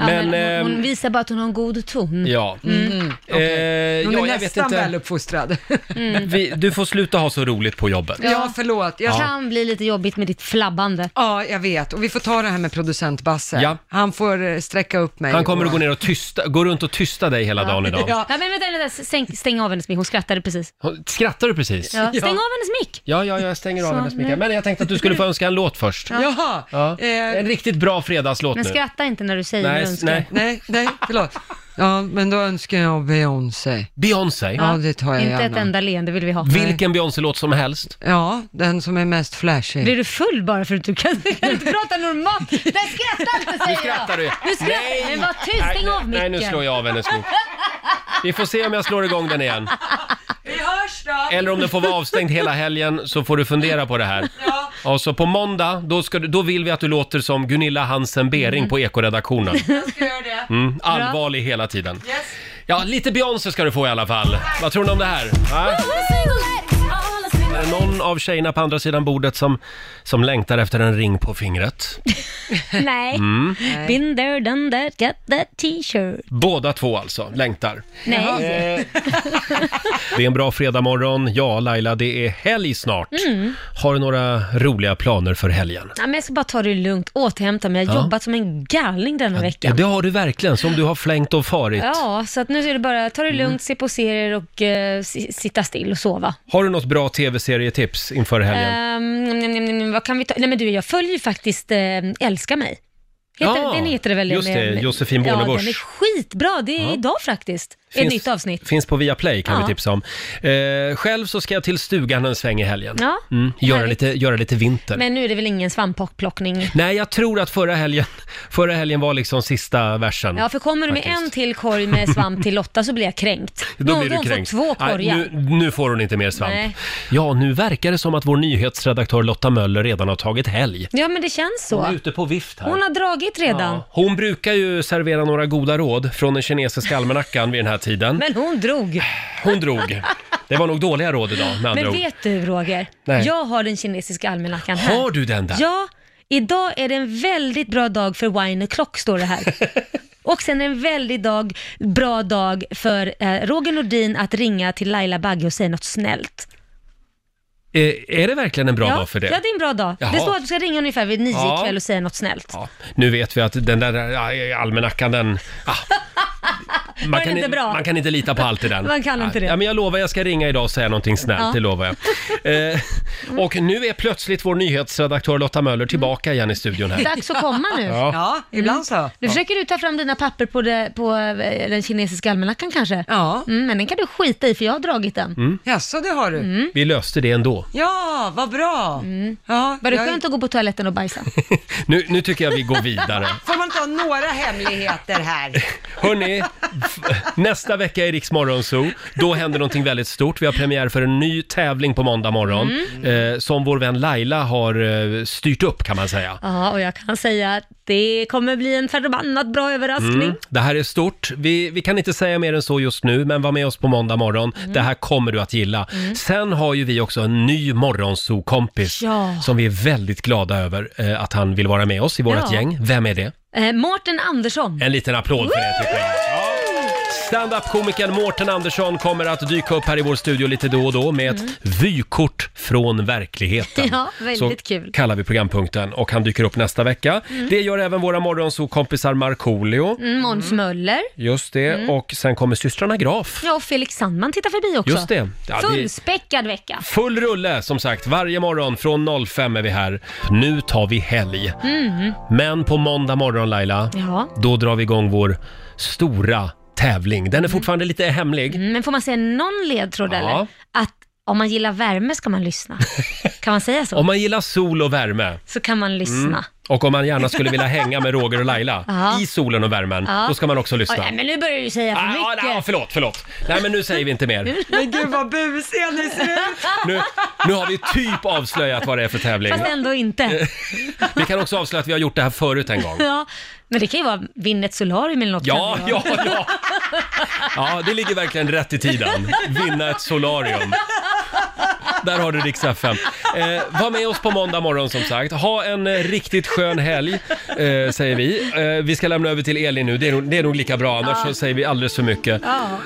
B: Ja, men,
A: Men,
B: hon, hon
A: ehm,
B: visar bara att hon har en god ton. Mm.
A: Ja. Eh,
C: Mm.
A: ja,
C: Hon är
A: jag vet
C: nästan
A: inte.
C: väluppfostrad.
B: Mm.
A: Vi, du får sluta ha så roligt på jobbet.
C: Ja, förlåt. Jag, ja.
B: Kan bli lite jobbigt med ditt flabbande.
C: jag vet. Och vi får ta det här med producent Basse.
A: Ja.
C: Han får eh, sträcka upp mig.
A: Han kommer
C: och-
A: att gå ner och tysta, gå runt och tysta dig hela dagen idag.
C: Ja.
B: Ja, men vänta, vänta, stäng, stäng av hennes mick. Hon skrattade precis.
A: Skrattar du precis?
B: Ja. Stäng av hennes mick.
A: Ja, ja, jag stänger av
B: Så,
A: hennes mick. här. Men jag tänkte att du skulle få önska en låt först.
C: Jaha.
A: Ja.
C: Eh,
A: En riktigt bra fredagslåt
B: Men
A: nu.
B: skratta inte när du säger
A: Nej,
B: vad du
A: s-
B: önskar.
A: nej.
C: Nej, nej, förlåt. Ja, men då önskar jag Beyoncé.
A: Beyoncé.
C: Ja, det tar jag
B: Inte ett
C: gärna.
B: enda leende vill vi ha.
A: Vilken Beyoncé-låt som helst.
C: Ja, den som är mest flashig.
B: Blir du full bara för att du kan, kan inte prata normalt? Nej, skratta inte säger
A: Nu skrattar du.
B: jag! Nu skrattar
A: Nej.
B: Men var tyst,
A: Nej,
B: stäng
A: nu-
B: av micken.
A: Nej, nu slår jag av hennes mick. Vi får se om jag slår igång den igen.
C: Vi hörs då!
A: Eller om den får vara avstängd hela helgen så får du fundera på det här. Och så på måndag, då, ska du, då vill vi att du låter som Gunilla Hansen Bering på Ekoredaktionen.
C: Mm. Jag ska göra det.
A: Mm, allvarlig hela tiden. Ja, lite Beyoncé ska du få i alla fall. Vad tror ni om det här? Va?
E: I'm a single lady, I wanna sing
A: Är det någon av tjejerna på andra sidan bordet som, som längtar efter en ring på fingret?
B: Nej.
A: Mm.
B: Been there, done that, got that t-shirt.
A: Båda två alltså, längtar.
B: Nej.
A: Eh. Det är en bra fredagmorgon. Ja, Laila, det är helg snart.
B: Mm.
A: Har du några roliga planer för helgen?
B: Ja, men jag ska bara ta det lugnt, återhämta mig. Jag har
A: Ja.
B: jobbat som en galning denna
A: Ja,
B: veckan.
A: det har du verkligen, som du har flängt och farit.
B: Ja, så att nu är det bara ta det lugnt,
A: Mm.
B: se på serier och eh, si- sitta still och sova.
A: Har du något bra tv-serietips inför helgen?
B: Ehm, mm, mm, mm, mm, vad kan vi ta? Nej men du, jag följer ju faktiskt eh, Älska mig. Heter,
A: Ja,
B: den heter det väl?
A: Ah, just det, Josefin
B: Ja,
A: Bornebusch.
B: den är skitbra. Det är
A: Ja.
B: idag faktiskt. Ett
A: Finns-
B: nytt avsnitt.
A: Finns på Viaplay kan
B: Ja.
A: vi tipsa om. Eh, själv så ska jag till stugan en sväng i helgen.
B: Ja,
A: Mm, göra,
B: härligt.
A: lite, göra lite vinter.
B: Men nu är det väl ingen svampplockning?
A: Nej, jag tror att förra helgen, förra helgen var liksom sista versen.
B: Ja, för kommer du med en till korg med svamp till Lotta så blir jag kränkt.
A: Då
B: Någon
A: blir du
B: får
A: kränkt.
B: två korgar.
A: Nej, nu, nu får hon inte mer svamp.
B: Nej.
A: Ja, nu verkar det som att vår nyhetsredaktör Lotta Möller redan har tagit helg.
B: Ja, men det känns så.
A: Hon är ute på vift här.
B: Hon har dragit redan.
A: Ja. Hon brukar ju servera några goda råd från den kinesiska almanackan vid den här tiden.
B: Men hon drog.
A: Hon drog. Det var nog dåliga råd idag med andra
B: Men
A: ord.
B: vet du Roger,
A: Nej.
B: jag har den kinesiska almanackan här.
A: Har du den där?
B: Ja, idag är det en väldigt bra dag för wine o'clock står det här. Och sen en väldigt dag, bra dag för eh, Roger Nordin att ringa till Laila Bagge och säga något snällt.
A: Eh, är det verkligen en bra
B: ja,
A: dag för det?
B: Ja, det är en bra dag.
A: Jaha.
B: Det står att du ska ringa ungefär vid nio
A: Ja.
B: ikväll och säga något snällt.
A: Nu vet vi att den där eh, almanackan, den... Ah,
B: Var
A: man,
B: den
A: kan,
B: inte
A: i-
B: bra?
A: man kan inte lita på allt i den.
B: Man kan inte det.
A: Ja, men jag lovar, jag ska ringa idag och säga någonting snällt,
B: Ja.
A: det lovar jag. Eh, och nu är plötsligt vår nyhetsredaktör Lotta Möller tillbaka igen i studion här.
B: Dags att komma nu.
A: Ja. Ja,
C: ibland så.
B: Nu
A: Ja.
B: försöker du ta fram dina papper på, det, på eh, den kinesiska almanackan kanske? Ja. Mm, men den kan du skita i för jag har dragit den.
A: Mm.
C: Jaså, det har du?
B: Mm.
A: Vi löste det ändå.
B: Ja, vad bra! Ja, Mm. Var det
C: jag-
B: skönt att gå på toaletten och bajsa?
A: Nu, nu tycker jag vi går vidare.
C: Får man ta några hemligheter här?
A: Hörni, nästa vecka i Rix Morgon Zoo, då händer någonting väldigt stort. Vi har premiär för en ny tävling på måndag morgon,
B: Mm.
A: eh, som vår vän Laila har eh, styrt upp kan man säga.
B: Ja, och jag kan säga att det kommer bli en förbannat bra överraskning.
A: Mm, det här är stort. Vi, vi kan inte säga mer än så just nu, men var med oss på måndag morgon.
B: Mm.
A: Det här kommer du att gilla. Sen har ju vi också en ny morgonzoo-kompis
B: Ja.
A: som vi är väldigt glada över eh, att han vill vara med oss i vårt
B: Ja.
A: gäng. Vem är det?
B: Eh, Mårten Andersson.
A: En liten applåd för det tycker jag. Standup-komikern Mårten Andersson kommer att dyka upp här i vår studio lite då och då med
B: Mm.
A: ett vykort från verkligheten.
B: Ja, väldigt
A: Så
B: kul.
A: kallar vi programpunkten och han dyker upp nästa vecka. Det gör även våra morgonsokompisar Markoolio.
B: Mm, Måns Möller.
A: Just det,
B: Mm.
A: och sen kommer systrarna Graf.
B: Ja, och Felix Sandman tittar förbi också.
A: Just det. Ja, det-
B: Fullspäckad vecka.
A: Full rulle som sagt, varje morgon från 05 är vi här. Nu tar vi helg.
B: Mm.
A: Men på måndag morgon Laila,
B: Ja.
A: då drar vi igång vår stora tävling. Den är fortfarande lite hemlig.
B: Mm, Men får man säga någon ledtråd
A: Ja.
B: eller? Att om man gillar värme ska man lyssna. Kan man säga så?
A: Om man gillar sol och värme
B: Så kan man lyssna.
A: mm, och om man gärna skulle vilja hänga med Roger och Laila
B: Ja.
A: i solen och värmen,
B: Ja.
A: då ska man också lyssna. Ah,
B: Oj, nej, men nu börjar du säga för
A: Ja,
B: mycket.
A: ja, förlåt, förlåt. Nej, men nu säger vi inte mer.
C: Men gud vad busiga ni ser ut.
A: Nu, nu har vi typ avslöjat vad det är för tävling.
B: Fast ändå inte.
A: Vi kan också avslöja att vi har gjort det här förut en gång.
B: Ja, men det kan ju vara Vinn ett solarium eller något.
A: Ja,
B: kan det
A: ja,
B: vara.
A: ja. Ja, det ligger verkligen rätt i tiden. Vinna ett solarium. Där har du Rix FM. Eh, var med oss på måndag morgon som sagt. Ha en eh, riktigt skön helg, eh, säger vi. Eh, vi ska lämna över till Elin nu. Det är, nog- det är nog lika bra, annars
B: Ja.
A: så säger vi alldeles för mycket.
B: Ja.